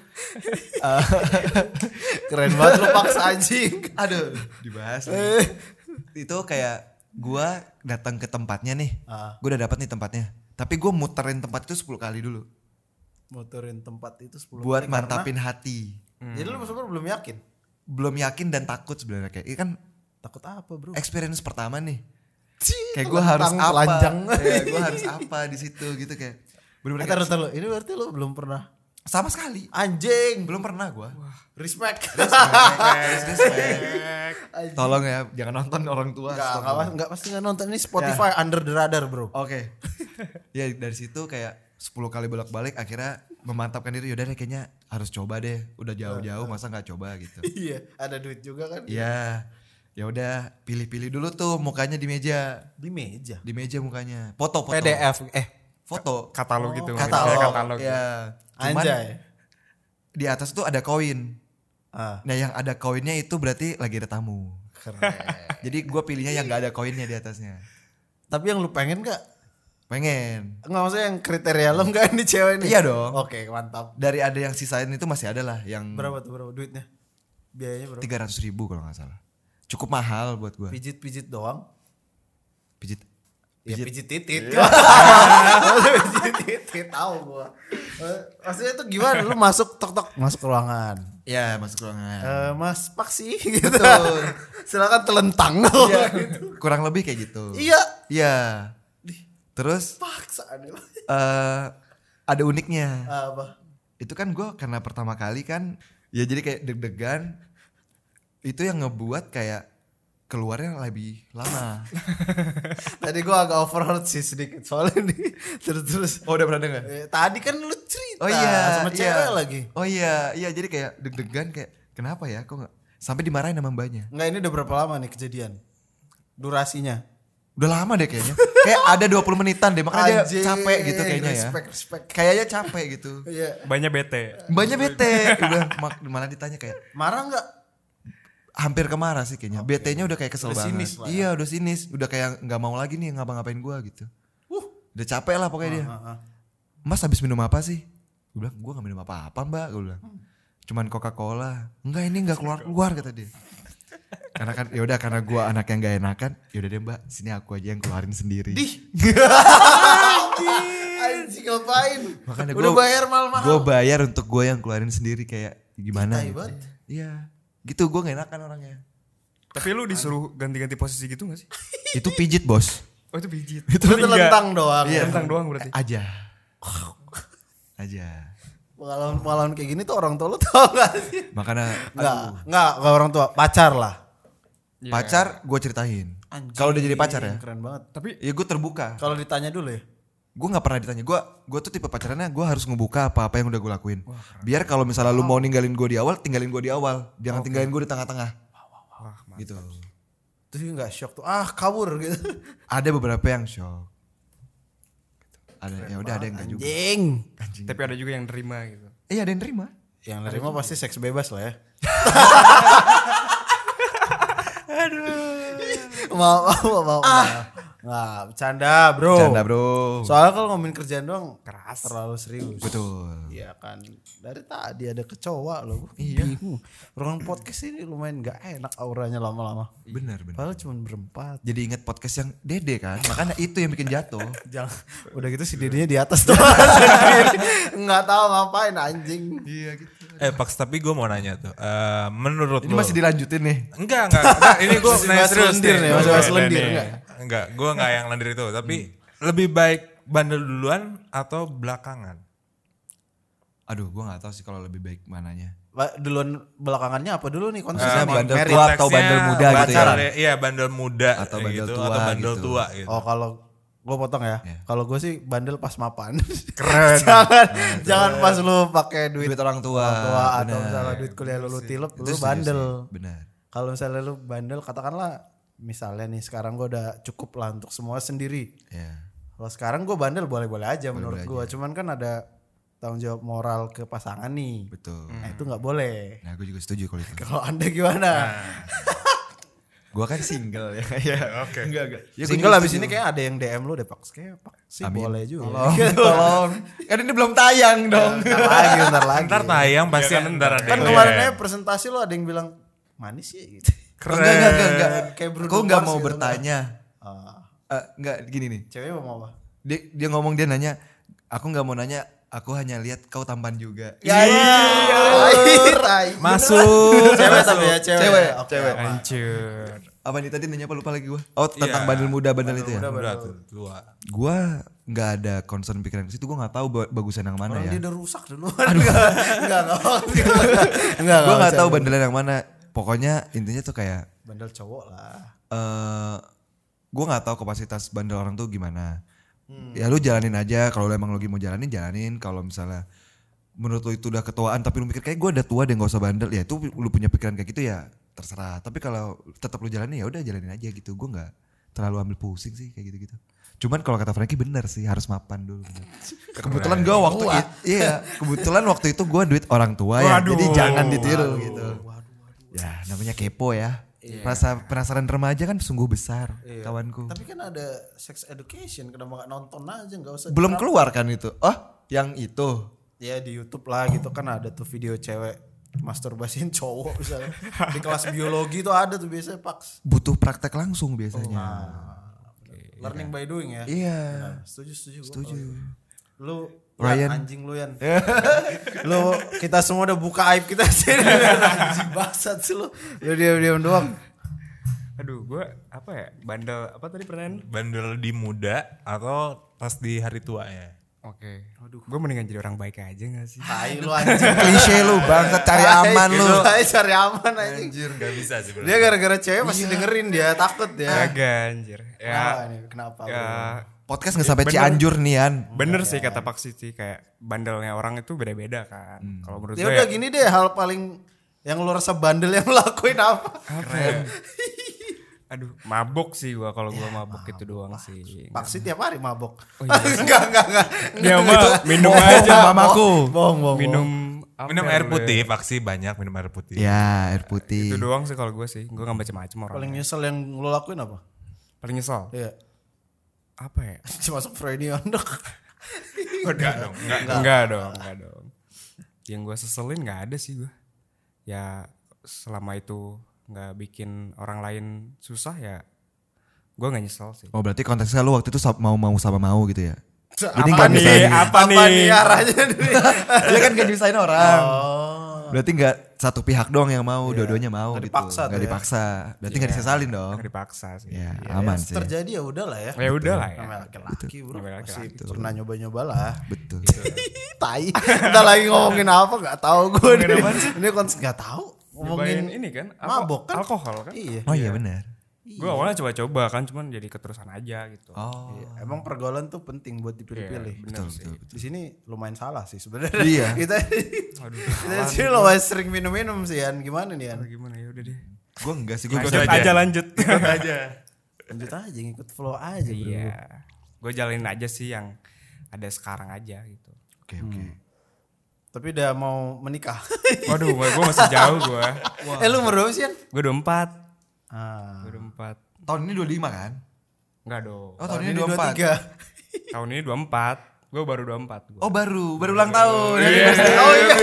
S1: Keren banget lu paksa anjing.
S2: aduh dibahas.
S1: Eh.
S2: lagi. Itu kayak gua datang ke tempatnya nih.
S1: Ah.
S2: Gua udah dapat nih tempatnya. Tapi gua muterin tempat itu 10 kali dulu
S1: Motorin tempat itu 10 kali
S2: buat
S1: karena-
S2: mantapin hati.
S1: Hmm. Jadi lu sebenarnya belum yakin.
S2: Belum yakin dan takut sebenarnya kayak ini kan
S1: Takut apa, Bro?
S2: experience pertama nih.
S1: Cih,
S2: kayak gue harus
S1: tentang
S2: apa
S1: kan telanjang.
S2: ya, gue harus apa di situ gitu kayak
S1: Eh,
S2: bener-bener
S1: taruh,
S2: kayak-
S1: taruh. Ini berarti lu belum pernah
S2: sama sekali
S1: anjing.
S2: belum pernah gue
S1: Respect. Anjing.
S2: tolong ya jangan nonton orang tua
S1: Enggak,
S2: stop.
S1: enggak pas- enggak pasti enggak nonton ini Spotify
S2: Iya.
S1: under the radar, Bro.
S2: oke ya dari situ kayak 10 kali bolak-balik akhirnya memantapkan diri yaudah deh kayaknya harus coba deh udah jauh-jauh masa nggak coba gitu
S1: Iya, ada duit juga kan
S2: ya ya udah pilih-pilih dulu tuh mukanya di meja
S1: di meja.
S2: di meja mukanya foto foto
S1: PDF eh
S2: foto
S5: Katalog gitu. mungkin.
S1: katalog.
S5: Kayak katalog.
S2: ya cuman
S1: Oh, anjay.
S2: di atas tuh ada koin
S1: Ah,
S2: Nah yang ada koinnya itu berarti lagi ada tamu.
S1: keren.
S2: Jadi gue pilihnya yang gak ada koinnya di atasnya.
S1: Tapi yang lu pengen gak?
S2: Pengen.
S1: Enggak maksudnya yang kriteria lu enggak ini cewek ini?
S2: Iya dong.
S1: Oke, mantap.
S2: Dari ada yang sisain itu masih ada lah yang
S1: Berapa tuh berapa duitnya? Biayanya berapa?
S2: tiga ratus ribu kalau nggak salah. Cukup mahal buat gue.
S1: Pijit-pijit doang.
S2: Pijit.
S1: Ya
S2: Pijit.
S1: pijit titit. pijit titit tahu gua. Eh, Maksudnya itu gimana lu masuk tok tok masuk ke ruangan.
S2: Ya masuk ruangan.
S1: Eh mas Paksi gitu. Silakan telentang.
S2: Iya. Kurang lebih kayak gitu.
S1: Iya.
S2: Iya. Terus
S1: Paksaan lu.
S2: eh ada uniknya.
S1: Apa?
S2: itu kan gue karena pertama kali kan ya jadi kayak deg-degan itu yang ngebuat kayak keluarnya lebih lama.
S1: Tadi gua agak overload sih sedikit soalnya ini terus terus.
S2: oh udah pernah denger?
S1: Eh, tadi kan lu cerita kita
S2: Oh iya,
S1: sama
S2: iya.
S1: cewek lagi.
S2: Oh iya, iya jadi kayak deg-degan kayak kenapa ya kok nggak sampai dimarahin sama mbaknya.
S1: Enggak ini udah berapa lama nih kejadian? Durasinya.
S2: Udah lama deh kayaknya. kayak ada 20 menitan deh makanya
S1: Anjing,
S2: dia capek gitu kayaknya ya.
S1: respect, respect.
S2: Kayaknya capek gitu.
S1: Iya.
S5: Banyak bete.
S2: Mbaknya bete, udah mak- malah ditanya kayak
S1: Marah nggak?
S2: hampir kemarah sih kayaknya. Betenya udah kayak kesel
S1: Udah
S2: banget.
S1: sinis lah ya.
S2: Iya, udah sinis, udah kayak nggak mau lagi nih ngapa-ngapain gua gitu. Udah capek lah pokoknya dia.
S1: ah.
S2: Mas habis minum apa sih? Gue bilang, gue gak minum apa-apa mbak. Gue bilang, cuman Coca-Cola. Enggak ini gak keluar-keluar kata dia. karena kan yaudah karena gue anak yang gak enakan. Yaudah deh mbak, sini aku aja yang keluarin sendiri.
S1: Anjing ngapain?
S2: Makanya
S1: udah
S2: gua-
S1: bayar mahal-mahal.
S2: Gue bayar untuk gue yang keluarin sendiri kayak gimana
S1: Tai
S2: gitu.
S1: banget.
S2: Iya. Gitu gue gak enakan orangnya.
S5: Tapi lu disuruh ganti-ganti posisi gitu gak sih?
S2: Itu pijit bos.
S5: Oh itu pijit.
S1: Itu tentang doang.
S5: Iya, tentang doang berarti.
S2: Aja. Aja.
S1: Pengalaman-pengalaman kayak gini tuh orang tua lu tau gak sih?
S2: Makanya
S1: Enggak, enggak, enggak orang tua, pacar lah.
S2: pacar gue ceritain. Kalau udah jadi pacar ya.
S1: Keren banget.
S5: Tapi
S2: Ya gue terbuka.
S1: Kalau ditanya dulu ya.
S2: gue nggak pernah ditanya gue gue tuh tipe pacarannya gue harus ngebuka apa apa yang udah gue lakuin biar kalau misalnya lu mau ninggalin gue di awal tinggalin gue di awal jangan tinggalin gue di tengah-tengah gitu
S1: Terus dia nggak shock tuh. Ah, kabur gitu.
S2: ada beberapa yang shock ada ya udah ada yang nggak juga
S1: Jing.
S5: tapi ada juga yang nerima gitu.
S2: iya ada yang terima
S1: Yang nerima pasti seks bebas lah ya. Aduh. Maaf, maaf, maaf, maaf. Nggak, Nah, bercanda bro.
S2: canda bro
S1: Soalnya kalau ngomongin kerjaan doang
S5: Keras.
S1: terlalu serius.
S2: betul
S1: Iya kan. Dari tadi ada kecoa loh. Iya. Bingung. Ruangan podcast ini lumayan gak enak auranya lama-lama.
S2: benar benar
S1: Padahal cuma berempat.
S2: jadi inget podcast yang dede kan makanya itu yang bikin jatuh
S1: Jangan. Udah gitu si dedenya di atas tuh. Nggak tahu ngapain anjing.
S2: iya gitu
S4: Eh Pax tapi gue mau nanya tuh, eh, menurut
S2: ini
S4: lu-
S2: masih dilanjutin nih
S4: Enggak, enggak, enggak. Ini gue
S1: Masih
S4: Iya, nanya
S1: bahas
S4: serius
S1: lendir nih, masih
S4: Gua-
S1: bahas lendir,
S4: nih.
S1: enggak?
S4: Enggak, gue enggak yang lendir itu. Tapi
S2: Hmm.
S4: lebih baik bandel duluan atau belakangan?
S2: aduh gue nggak tahu sih kalau lebih baik mananya
S1: Ba- duluan belakangannya apa dulu nih
S4: Eh,
S1: konsepnya nih?
S2: Ah, bandel
S1: Merit.
S2: tua atau bandel muda
S4: konteksnya
S2: gitu ya?
S4: bandel- Iya, bandel muda
S2: Atau
S4: kayak
S2: bandel
S4: gitu,
S2: tua
S4: atau bandel
S2: gitu.
S4: tua gitu.
S1: Oh kalau gue potong ya.
S2: Iya. Nah,
S1: Kalau gue sih bandel pas mapan.
S4: Keren.
S1: jangan jangan pas lu pakai duit,
S2: duit orang tua,
S1: orang tua atau
S2: benar.
S1: misalnya duit kuliah lu, lu tilep
S2: Itu
S1: lu
S2: setuju
S1: bandel.
S2: sih, benar
S1: Kalau misalnya lu bandel katakanlah misalnya nih sekarang gue udah cukup lah untuk semua sendiri.
S2: ya
S1: Kalau sekarang gue bandel boleh-boleh aja menurut
S2: aja.
S1: gue. Cuman kan ada tanggung jawab moral ke pasangan nih.
S2: betul
S1: Nah itu nggak boleh.
S2: Nah gue juga setuju kalau itu.
S1: Kalau anda gimana?
S2: Nah. Gue kan single ya. ya.
S4: Oke.
S2: Enggak, enggak. Ya, gua
S1: Single
S2: juga
S1: abis
S2: setuju.
S1: ini kayak ada yang DM lu deh pak. Kayak pak sih
S2: Amin.
S1: boleh juga. Gitu.
S2: Tolong. Kan ini belum tayang dong.
S1: ntar lagi, ntar lagi.
S4: Ntar tayang pasti
S5: Iya
S4: ntar ada
S1: kan
S2: Iya.
S4: yang
S1: kemarin
S4: DM.
S1: aja presentasi lo ada yang bilang manis ya gitu.
S4: Keren.
S2: Enggak, enggak, enggak. enggak.
S1: Kayak Bruno
S2: Gue enggak
S1: Mars
S2: mau
S1: gitu,
S2: bertanya.
S1: Ah,
S2: Eh, enggak, gini nih.
S1: cewek mau apa?
S2: Dia, dia ngomong, dia nanya. Aku enggak mau nanya. Aku hanya lihat kau tampan juga.
S1: Iya.
S4: Masuk.
S1: Cewek tapi ya cewek.
S2: Cewek,
S1: Oke,
S2: cewek.
S1: apa?
S5: Hancur.
S2: Apa nih tadi nanya apa lupa lagi gue? Oh tentang
S4: Iya.
S2: bandel muda bandel itu ya.
S4: Muda atau tua.
S2: Gue nggak ada concern pikiran ke situ. Gue nggak tahu ba- bagusan yang mana
S1: Orang
S2: ya.
S1: dia udah rusak dulu. Enggak, enggak, enggak. Enggak,
S2: Gue nggak tahu bandelan yang mana. Pokoknya intinya tuh kayak
S1: Bandel cowok lah.
S2: eh gue nggak tahu kapasitas bandel orang tuh gimana. Ya lu jalanin aja kalau lu emang lagi mau jalanin jalanin kalau misalnya menurut lu itu udah ketuaan tapi lu mikir kayak gue udah tua deh nggak usah bandel ya itu lu punya pikiran kayak gitu ya terserah tapi kalau tetap lu jalanin ya udah jalanin aja gitu gue nggak terlalu ambil pusing sih kayak gitu gitu cuman kalau kata Frankie bener sih harus mapan dulu kebetulan gue waktu itu iya kebetulan waktu itu gue duit orang tua ya
S5: Waduh.
S2: jadi jangan ditiru gitu Ya namanya kepo ya. Rasa penasaran remaja kan sungguh besar kawanku.
S1: Tapi kan ada sex education, kenapa nggak nonton aja, nggak usah.
S2: Belum keluar kan itu. Oh yang itu.
S1: Ya di YouTube lah gitu kan ada tuh video cewek masturbasiin cowok misalnya. di kelas biologi tuh ada tuh biasanya paks.
S2: Butuh praktek langsung biasanya.
S1: Learning by doing ya.
S2: Iya
S1: Nah, setuju setuju. gua. gitu.
S2: setuju.
S1: Lu
S2: Ryan. Iya.
S1: Ryan anjing lu Yan. lu kita semua udah buka aib kita sini. anjing bangsat sih lu. Lu diam-diam doang.
S5: Aduh, gue apa ya? Bandel apa tadi pertanyaan?
S4: Bandel di muda atau pas di hari tuanya?
S5: Oke. Aduh, gue mendingan jadi orang baik aja gak sih?
S1: Tai lu anjing.
S2: Klise lu bangsat cari aman lu.
S1: Tai cari aman anjing.
S4: Anjir gak bisa sih bro.
S2: Iya.
S1: Dia gara-gara cewek masih dengerin dia takut ya.
S5: Kagak anjir.
S1: Kenapa
S5: Ya,
S2: Iya.
S1: ini? Kenapa?
S5: ya
S2: podcast nggak sampai Cianjur nih An.
S5: Bener sih kata Pak Siti kayak bandelnya orang itu beda-beda kan.
S2: Hmm.
S5: Kalau menurut
S1: Ya
S5: saya
S1: udah gini deh hal paling yang lu rasa bandel yang lu lakuin apa?
S5: apa ya? Aduh, mabok sih gua kalau
S2: Ya
S5: gua mabok itu doang sih.
S1: Paksi tiap hari mabok.
S5: Oh iya.
S1: enggak, enggak, enggak.
S5: Dia mah minum aja
S2: Sama mamaku.
S1: Bohong, bohong.
S5: minum apa
S4: Minum
S5: ya
S4: air
S5: dulu ya?
S4: putih, Paksi banyak minum air putih.
S2: Ya air putih.
S5: Itu doang sih kalau gua sih. Gua nggak macam-macam orang.
S1: Paling nyesel yang lu lakuin apa?
S5: paling nyesel.
S1: Iya.
S5: Apa ya?
S1: Cuma masuk Freudian dok.
S4: Enggak dong, enggak.
S5: Enggak, dong, enggak dong. Yang gue seselin nggak ada sih gue. Ya selama itu nggak bikin orang lain susah ya, gue nggak nyesel sih.
S2: Oh berarti konteksnya lu waktu itu sab- mau mau sama mau gitu ya? Jadi
S1: Apa
S2: nggak
S1: nih?
S2: nyesel.
S5: Apa nih?
S1: arahnya nih?
S2: Dia kan gak diusahain orang.
S1: Oh.
S2: Berarti nggak satu pihak doang yang mau, dua-duanya mau
S1: Nggak
S2: gitu.
S1: dipaksa tuh
S2: Nggak
S1: ya.
S2: dipaksa. Berarti nggak disesalin dong.
S5: Nggak dipaksa sih.
S2: Ya aman sih.
S1: Terjadi ya udahlah ya.
S5: Ya udah lah ya.
S1: Namanya laki-laki bro.
S5: Namanya
S1: Masih
S5: laki-laki.
S1: pernah nyoba-nyoba lah.
S2: Betul.
S1: Iya. Tai. Kita lagi ngomongin apa nggak tahu gue. nih. Ini kons nggak tahu.
S5: Ngomongin
S1: Ngomongin
S5: ini kan, alko-
S1: mabok kan?
S5: alkohol kan.
S1: Iya.
S2: Oh iya benar.
S5: Gue awalnya coba-coba kan, cuman jadi keterusan aja gitu.
S2: Oh.
S1: Iya, Emang pergaulan tuh penting buat dipilih-pilih.
S5: Bener sih.
S1: Di sini lumayan salah sih sebenarnya.
S2: Iya.
S1: kita
S5: Aduh,
S1: kita di sini lumayan sering minum-minum sih Yan. Gimana nih Yan?
S5: gimana ya udah deh.
S2: Gue enggak sih gue
S4: Lanjut
S5: Lanjut
S4: aja.
S5: aja lanjut. aja.
S1: Lanjut aja ngikut flow aja bro.
S5: Iya. Gue jalanin aja sih yang ada sekarang aja gitu.
S2: Oke oke.
S1: Tapi udah mau menikah.
S5: Waduh, gue masih jauh gue.
S1: eh lu umur berapa sih Yan?
S5: Gue udah empat.
S1: Ah,
S5: 24.
S2: Tahun ini 25 kan?
S5: Enggak dong.
S2: Oh tahun, ini 24.
S1: 23.
S5: Tahun ini 24. Gue baru 24 gua.
S2: Oh baru, baru ulang tahun. Happy birthday.
S1: Oh iya.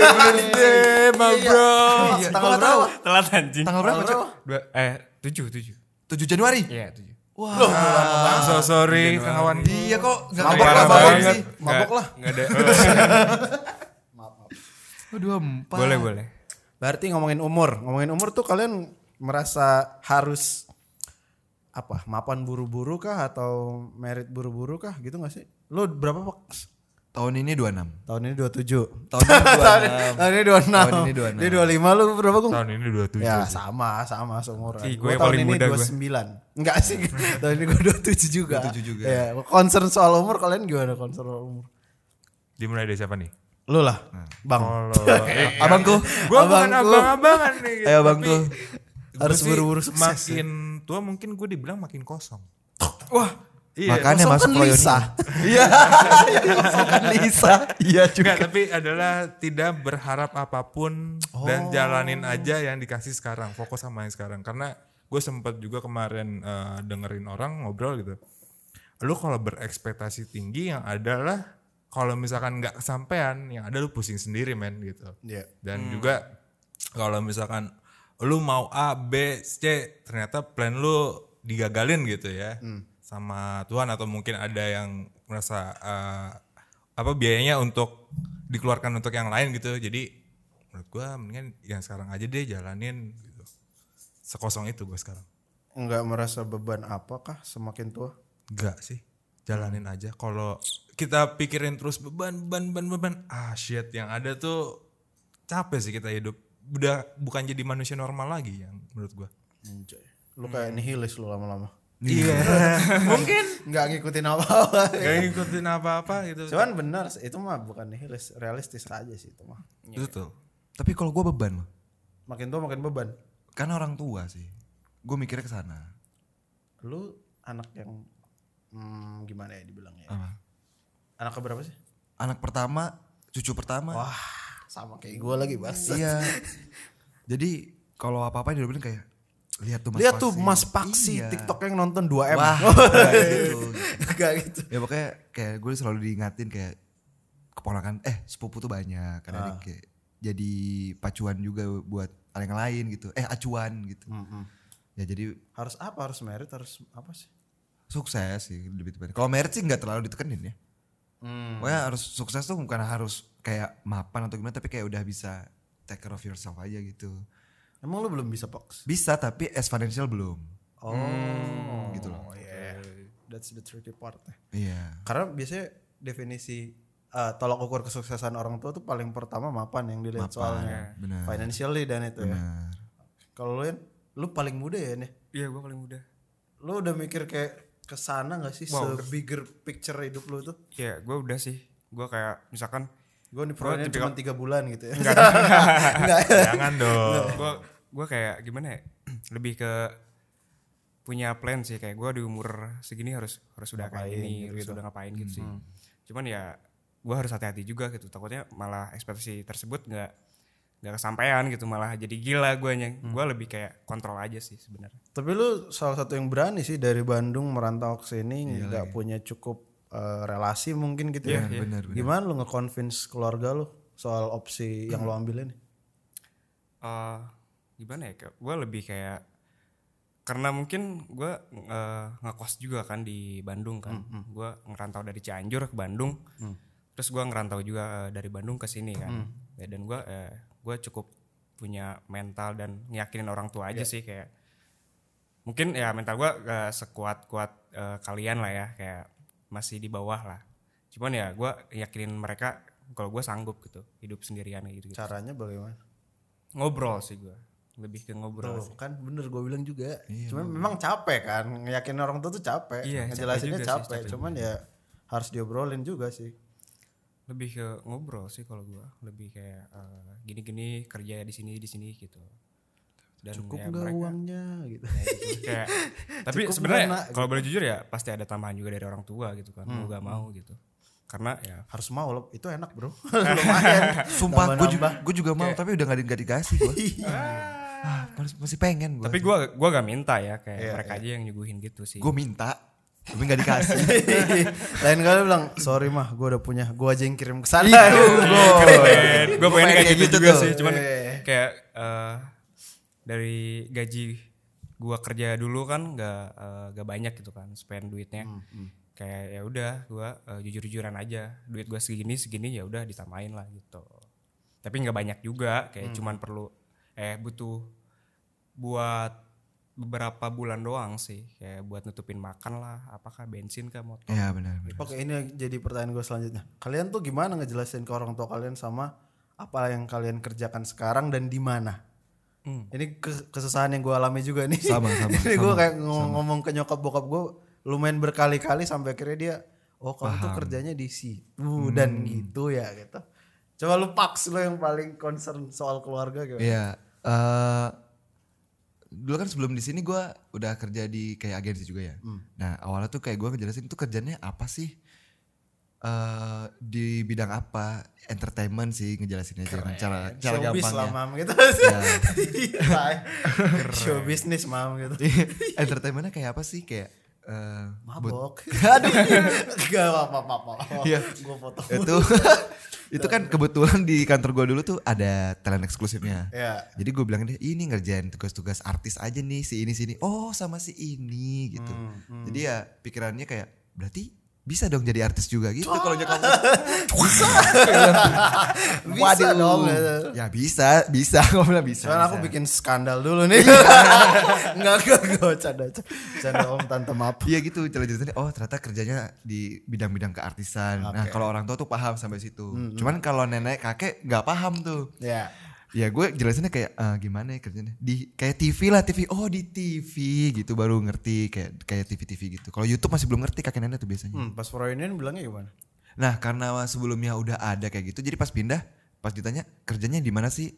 S5: Eh, bang bro.
S1: Iya, Tanggal berapa?
S5: Telat anjing.
S2: Tanggal berapa? Cok?
S5: Dua, eh, 7, 7.
S2: 7 Januari.
S5: Iya, 7.
S2: Wah.
S4: Ah, so sorry kawan.
S2: Iya kok enggak
S1: Mabok
S2: apa-apa
S1: lah,
S2: mabok
S1: mabok
S2: sih.
S1: Mabok lah.
S5: Enggak ada.
S2: Oh, 24.
S5: boleh, boleh.
S1: Berarti ngomongin umur, ngomongin umur tuh kalian merasa harus apa? Mapan buru-buru kah atau merit buru-buru kah gitu gak sih? Lu berapa Pak?
S2: Tahun ini 26.
S1: Tahun ini 27.
S2: Tahun ini
S1: Tahun ini 26.
S2: Tahun ini 26.
S1: Dia 25 lu berapa Gung?
S4: Tahun ini 27.
S2: Iya.
S1: Ya sama, sama seumuran.
S5: Ih,
S1: Gua
S5: gue
S1: tahun
S5: paling
S1: ini
S5: muda gue.
S1: 29. Enggak sih. tahun ini gue 27 juga.
S2: 27 juga.
S1: Ya, concern soal umur kalian gimana concern soal umur?
S4: Dimulai dari siapa nih?
S1: Lu lah, Bang.
S2: Eh, Abangku.
S4: Gue bukan gitu,
S1: Abangku.
S4: abang-abangan nih.
S2: Ayo abangku.
S1: Eh, harus buru-buru sukses. ya.
S4: Makin tua mungkin gue dibilang makin kosong.
S5: Wah,
S2: Makanya
S1: Kosong kan
S2: masuk Royoni.
S1: Lisa.
S2: ya. Iya. Makan Lisa. Iya
S4: Enggak, tapi adalah tidak berharap apapun
S1: Oh.
S4: dan jalanin aja yang dikasih sekarang. Fokus sama yang sekarang. Karena gue sempat juga kemarin eh, dengerin orang ngobrol gitu. Lu kalau berekspektasi tinggi yang adalah kalau misalkan nggak kesampaian, yang ada lu pusing sendiri men gitu.
S1: Iya.
S4: Dan juga kalau misalkan lu mau A, B, C, ternyata plan lu digagalin gitu ya sama Tuhan atau mungkin ada yang merasa eh, apa biayanya untuk dikeluarkan untuk yang lain gitu. Jadi menurut gua mendingan yang sekarang aja deh jalanin gitu. Sekosong itu gua sekarang.
S1: Enggak merasa beban apakah semakin tua?
S4: Enggak sih. Jalanin aja kalau kita pikirin terus beban beban beban beban. Ah shit, yang ada tuh capek sih kita hidup. Udah bukan jadi manusia normal lagi yang menurut gua.
S1: Anjay. Lu kayak
S2: Hmm.
S1: nihilis lu lama-lama.
S4: Iya. Mungkin
S1: Nggak ngikutin apa-apa.
S4: gak ngikutin apa-apa gitu.
S1: Cuman benar sih, itu mah bukan nihilis, realistis aja sih itu mah.
S4: Betul.
S2: Tapi kalau gue beban loh.
S1: Makin tua makin beban.
S2: Karena orang tua sih. Gue mikirnya ke sana.
S1: Lu anak yang hmm, gimana ya dibilangnya? ya? Anak keberapa sih?
S2: Anak pertama, cucu pertama.
S1: Wah, sama kayak gue lagi bas.
S2: Ah. Iya. Jadi kalau apa-apa yang dibilang kayak lihat tuh Mas
S1: Lihat tuh
S2: Paksi."
S1: Mas Paksi
S2: Iya.
S1: TikTok yang nonton 2M.
S2: Wah, nggak gitu.
S1: Enggak gitu.
S2: ya pokoknya kayak gue selalu diingatin kayak keponakan eh sepupu tuh banyak kadang kayak jadi pacuan juga buat orang yang lain gitu eh acuan gitu ya jadi
S1: Harus apa? Harus merit, harus apa sih?
S2: sukses sih lebih tepatnya kalau merit sih nggak terlalu ditekenin ya pokoknya harus sukses tuh bukan harus kayak mapan atau gimana tapi kayak udah bisa take care of yourself aja gitu
S1: Emang lu belum bisa Pax?
S2: bisa tapi as financial belum
S1: Oh,
S2: gitu loh
S1: yeah. That's the tricky part.
S2: iya
S1: Karena biasanya definisi eh, tolak ukur kesuksesan orang tua tuh paling pertama mapan yang dilihat soalnya.
S2: bener.
S1: Financially dan itu ya.
S2: Bener.
S1: Kalau lu Yan, lu paling muda ya nih.
S5: iya gue paling muda.
S1: Lu udah mikir kayak kesana nggak sih se bigger picture hidup lu tuh?
S5: ya gue udah sih gue kayak misalkan
S1: Gue di
S5: Gua
S1: Frontline cuma
S5: tipikal-
S1: tiga bulan gitu ya.
S4: Jangan dong.
S5: gue gue kayak gimana ya lebih ke punya plan sih kayak gue di umur segini harus harus udah kayak gini harus udah ngapain gitu sih cuman ya gue harus hati-hati juga gitu takutnya malah ekspektasi tersebut nggak nggak kesampaian gitu malah jadi gila gue nya gue lebih kayak kontrol aja sih sebenarnya
S1: Tapi lu salah satu yang berani sih dari Bandung merantau ke sini nggak punya cukup eh, relasi mungkin gitu ya.
S2: bener, bener.
S1: Gimana lu nge-convince keluarga lu soal opsi yang lu ambil ini?
S5: Eh, gimana ya gue lebih kayak karena mungkin gue ngekos juga kan di Bandung kan gue ngerantau dari Cianjur ke Bandung terus gue ngerantau juga eh, dari Bandung ke sini kan Ya, dan gue gue cukup punya mental dan ngeyakinin orang tua aja sih kayak mungkin ya mental gue gak sekuat kuat kalian lah ya kayak masih di bawah lah cuman ya gue yakinin mereka kalau gue sanggup gitu hidup sendirian gitu, -gitu
S1: Caranya bagaimana?
S5: ngobrol sih gue lebih ke ngobrol
S1: Tuh,
S5: sih.
S1: kan bener gue bilang juga. Cuman memang capek kan, ngeyakinin orang tua tuh capek.
S5: Iya,
S1: Ngejelasinnya
S5: capek juga sih,
S1: capek,
S5: capek
S1: cuman ya harus diobrolin juga sih.
S5: lebih ke ngobrol sih kalau gue lebih kayak eh, gini-gini kerja di sini di sini gitu dan
S1: Cukup
S5: ya,
S1: nggak
S5: mereka
S1: uangnya gitu.
S5: kayak tapi
S1: Cukup nggak,
S5: sebenarnya
S1: Nak?
S5: kalau boleh jujur ya pasti ada tambahan juga dari orang tua gitu kan mau gak mau gitu karena ya
S1: harus mau loh, itu enak bro. Lumayan.
S2: Sumpah gue juga,
S1: Nambah-nambah.
S2: gua juga mau tapi udah gak, di- gak dikasih gue. masih, masih pengen gue.
S5: tapi gue gua gak minta ya kayak mereka aja yang nyuguhin gitu sih
S2: gue minta tapi gak dikasih.
S1: Lain kali bilang, sorry mah gue udah punya, gue aja yang kirim ke sana.
S5: gue Iya. pengen kayak gitu, Iya. juga
S2: tuh.
S5: sih cuman
S1: Iya.
S5: kayak eh, dari gaji gua kerja dulu kan nggak eh, nggak banyak gitu kan spend duitnya kayak ya udah gua eh, jujur-jujuran aja duit gua segini segini ya udah ditambahin lah gitu tapi nggak banyak juga kayak cuman perlu eh butuh buat beberapa bulan doang sih kayak buat nutupin makan lah apakah bensin kah motor
S2: Iya benar. benar.
S1: Oke ini jadi pertanyaan gue selanjutnya. Kalian tuh gimana ngejelasin ke orang tua kalian sama apa yang kalian kerjakan sekarang dan di mana? Ini ke- kesusahan yang gue alami juga nih.
S2: Hmm. Sama, sama,
S1: ini gue kayak ng- ngomong ke nyokap bokap gue lumayan berkali-kali sampai akhirnya dia, oh kamu tuh kerjanya di situ
S2: Hmm.
S1: dan gitu ya gitu. Coba lu paks lu yang paling concern soal keluarga gitu.
S2: Iya. eh, dulu kan sebelum di sini gue udah kerja di kayak agensi juga ya. Nah awalnya tuh kayak gue ngejelasin tuh kerjanya apa sih? eh di bidang apa? Entertainment sih ngejelasinnya dengan cara cara
S1: Showbiz lah
S2: gampangnya. Iya.
S1: mam gitu. Show business mam gitu.
S2: Entertainmentnya kayak apa sih? Kayak eh,
S1: Mabok. Aduh. Gak apa-apa.
S2: Iya.
S1: Gue foto.
S2: itu itu kan kebetulan di kantor gue dulu tuh ada talent eksklusifnya.
S1: Iya.
S2: Jadi gue bilang deh ini ngerjain tugas-tugas artis aja nih si ini sini. Oh sama si ini gitu.
S1: Hmm,
S2: Jadi ya pikirannya kayak berarti bisa dong jadi artis juga gitu kalau nyokap gue.
S1: Bisa dong.
S2: Ya bisa, bisa. Gue bilang bisa.
S1: Soalnya aku
S2: bisa. Iya.
S1: bikin skandal dulu nih. Enggak, enggak, enggak. Canda, canda. Canda om, tante maaf.
S2: Iya gitu celah ceritanya oh ternyata kerjanya di bidang-bidang keartisan. Nah kalau orang tua tuh paham sampai situ.
S1: Hmm,
S2: Cuman kalau nenek kakek nggak paham tuh.
S1: Ya.
S2: Ya gue jelasinnya kayak "Eh, gimana ya kerjanya di kayak TV lah TV oh di TV gitu baru ngerti kayak kayak TV TV gitu kalau YouTube masih belum ngerti kakek nenek tuh biasanya
S1: Hmm, pas Froyonian bilangnya gimana?
S2: nah karena sebelumnya udah ada kayak gitu jadi pas pindah pas ditanya kerjanya di mana sih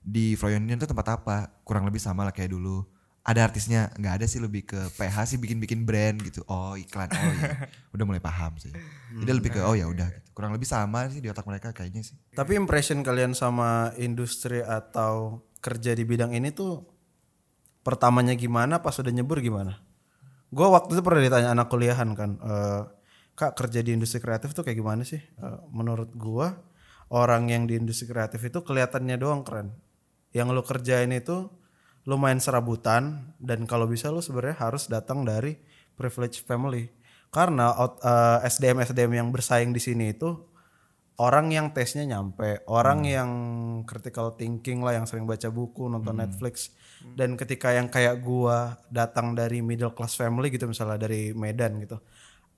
S2: di Froyonian tuh tempat apa kurang lebih sama lah kayak dulu ada artisnya nggak ada sih lebih ke PH sih bikin bikin brand gitu oh iklan oh iya udah mulai paham sih jadi lebih ke oh ya udah gitu. kurang lebih sama sih di otak mereka kayaknya sih
S1: Tapi impression kalian sama industri atau kerja di bidang ini tuh pertamanya gimana pas udah nyebur gimana? Gue waktu itu pernah ditanya anak kuliahan kan, eh, kak kerja di industri kreatif tuh kayak gimana sih? Eh, menurut gue orang yang di industri kreatif itu kelihatannya doang keren. Yang lo kerjain itu lumayan serabutan dan kalau bisa lo sebenarnya harus datang dari privileged family karena out- eh, SDM SDM yang bersaing di sini itu orang yang tesnya nyampe, orang
S4: Hmm.
S1: yang critical thinking lah, yang sering baca buku, nonton
S4: Hmm.
S1: Netflix, dan ketika yang kayak gua datang dari middle class family gitu misalnya dari Medan gitu,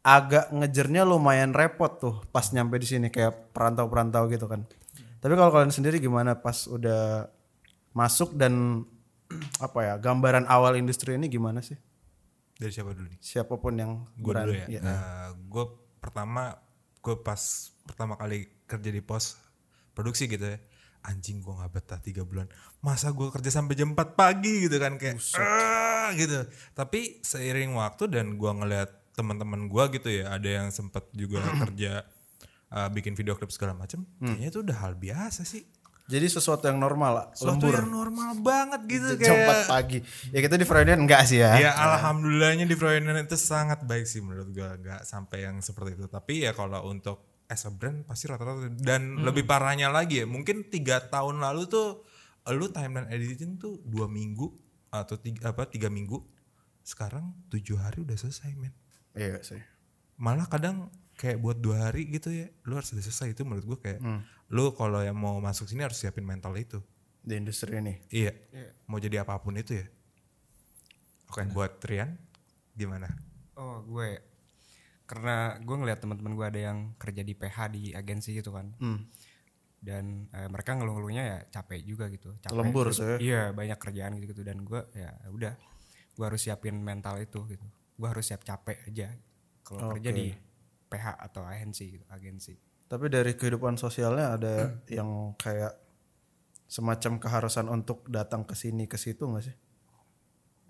S1: agak ngejernya lumayan repot tuh pas nyampe di sini kayak perantau-perantau gitu kan.
S4: Hmm.
S1: Tapi kalau kalian sendiri gimana pas udah masuk dan apa ya gambaran awal industri ini gimana sih?
S4: Dari siapa dulu nih?
S1: Siapapun yang
S4: Gue dulu
S1: berani. iya.
S4: ya. gue pertama gue pas pertama kali kerja di pos produksi gitu ya. Anjing gue nggak betah tiga bulan. Masa gue kerja sampai jam 4 pagi gitu kan kayak "Ah," gitu. Tapi seiring waktu dan gue ngeliat teman-teman gue gitu ya, ada yang sempet juga kerja eh, bikin video klip segala macem.
S1: Hmm.
S4: Kayaknya itu udah hal biasa sih.
S1: Jadi sesuatu yang normal lah, lembur.
S4: Suatu yang normal banget gitu
S1: Jam
S4: kayak
S1: 4 pagi. Ya kita di Freudian enggak sih ya.
S4: Ya alhamdulillahnya di Froyonian itu sangat baik sih menurut gue nggak sampai yang seperti itu. Tapi ya kalau untuk as a brand pasti rata-rata dan lebih parahnya lagi ya mungkin tiga tahun lalu tuh lu timeline editing tuh dua minggu atau tiga, apa tiga minggu sekarang tujuh hari udah selesai men
S1: Iya sih.
S4: malah kadang kayak buat dua hari gitu ya lu harus udah selesai itu menurut gue kayak lu kalau yang mau masuk sini harus siapin mental itu
S1: Di industri ini.
S4: Iya. Mau jadi apapun itu ya. Oke, buat Rian gimana?
S5: Oh gue ya. karena gue ngeliat teman-teman gue ada yang kerja di PH di agensi gitu kan
S1: Hmm.
S5: dan eh, mereka ngeluh-ngeluhnya ya capek juga gitu capek
S1: Lembur
S5: terus-
S1: sih.
S5: iya banyak kerjaan gitu gitu dan gue ya udah gue harus siapin mental itu gitu gue harus siap capek aja kalau kerja di PH atau agensi gitu agensi
S1: Tapi dari kehidupan sosialnya ada yang kayak semacam keharusan untuk datang ke sini ke situ enggak sih?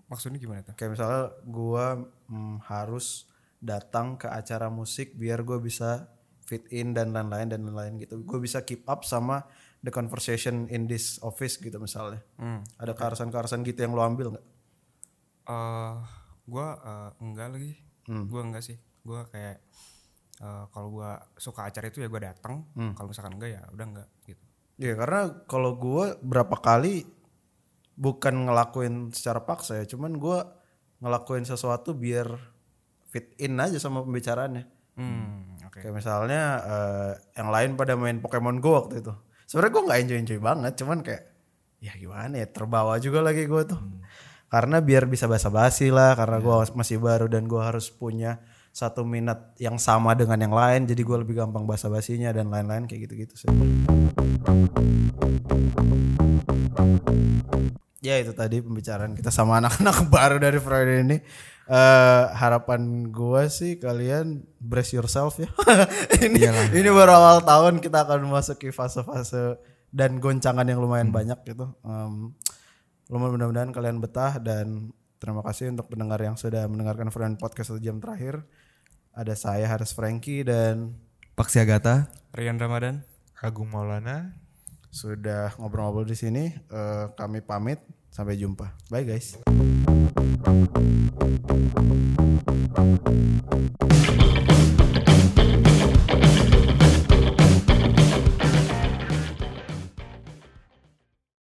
S5: maksudnya gimana tuh
S1: Kayak misalnya gua mm, harus datang ke acara musik biar gue bisa fit in dan lain-lain dan lain-lain gitu. Gue bisa keep up sama the conversation in this office gitu misalnya. Ada keharusan-keharusan gitu yang lo ambil nggak?
S5: eh gue eh, enggak lagi gue enggak sih gue kayak eh, kalau gue suka acara itu ya gue datang kalau misalkan enggak ya udah enggak gitu
S1: Iya karena kalau gue berapa kali bukan ngelakuin secara paksa ya, cuman gue ngelakuin sesuatu biar fit in aja sama pembicaraannya.
S5: hmm, oke
S1: Kayak misalnya eh, yang lain pada main Pokemon Go waktu itu. Sebenarnya gue nggak enjoy enjoy banget, cuman kayak ya gimana ya terbawa juga lagi gue tuh.
S5: Hmm.
S1: Karena biar bisa basa-basi lah, karena gue
S5: Iya.
S1: masih baru dan gue harus punya satu minat yang sama dengan yang lain, jadi gue lebih gampang basa-basinya dan lain-lain kayak gitu-gitu sih. Ya itu tadi pembicaraan kita sama anak-anak baru dari Friday ini. eh harapan gua sih kalian brace yourself ya. ini ini baru awal tahun kita akan memasuki fase-fase dan goncangan yang lumayan banyak gitu. Em, lumayan mudah-mudahan kalian betah dan terima kasih untuk pendengar yang sudah mendengarkan Friday Podcast satu jam terakhir. Ada saya Haris Franky dan
S2: Pak Siagata.
S5: Rian Ramadan
S4: Agung Maulana.
S1: sudah ngobrol-ngobrol di sini. Eh, kami pamit sampai jumpa. Bye guys.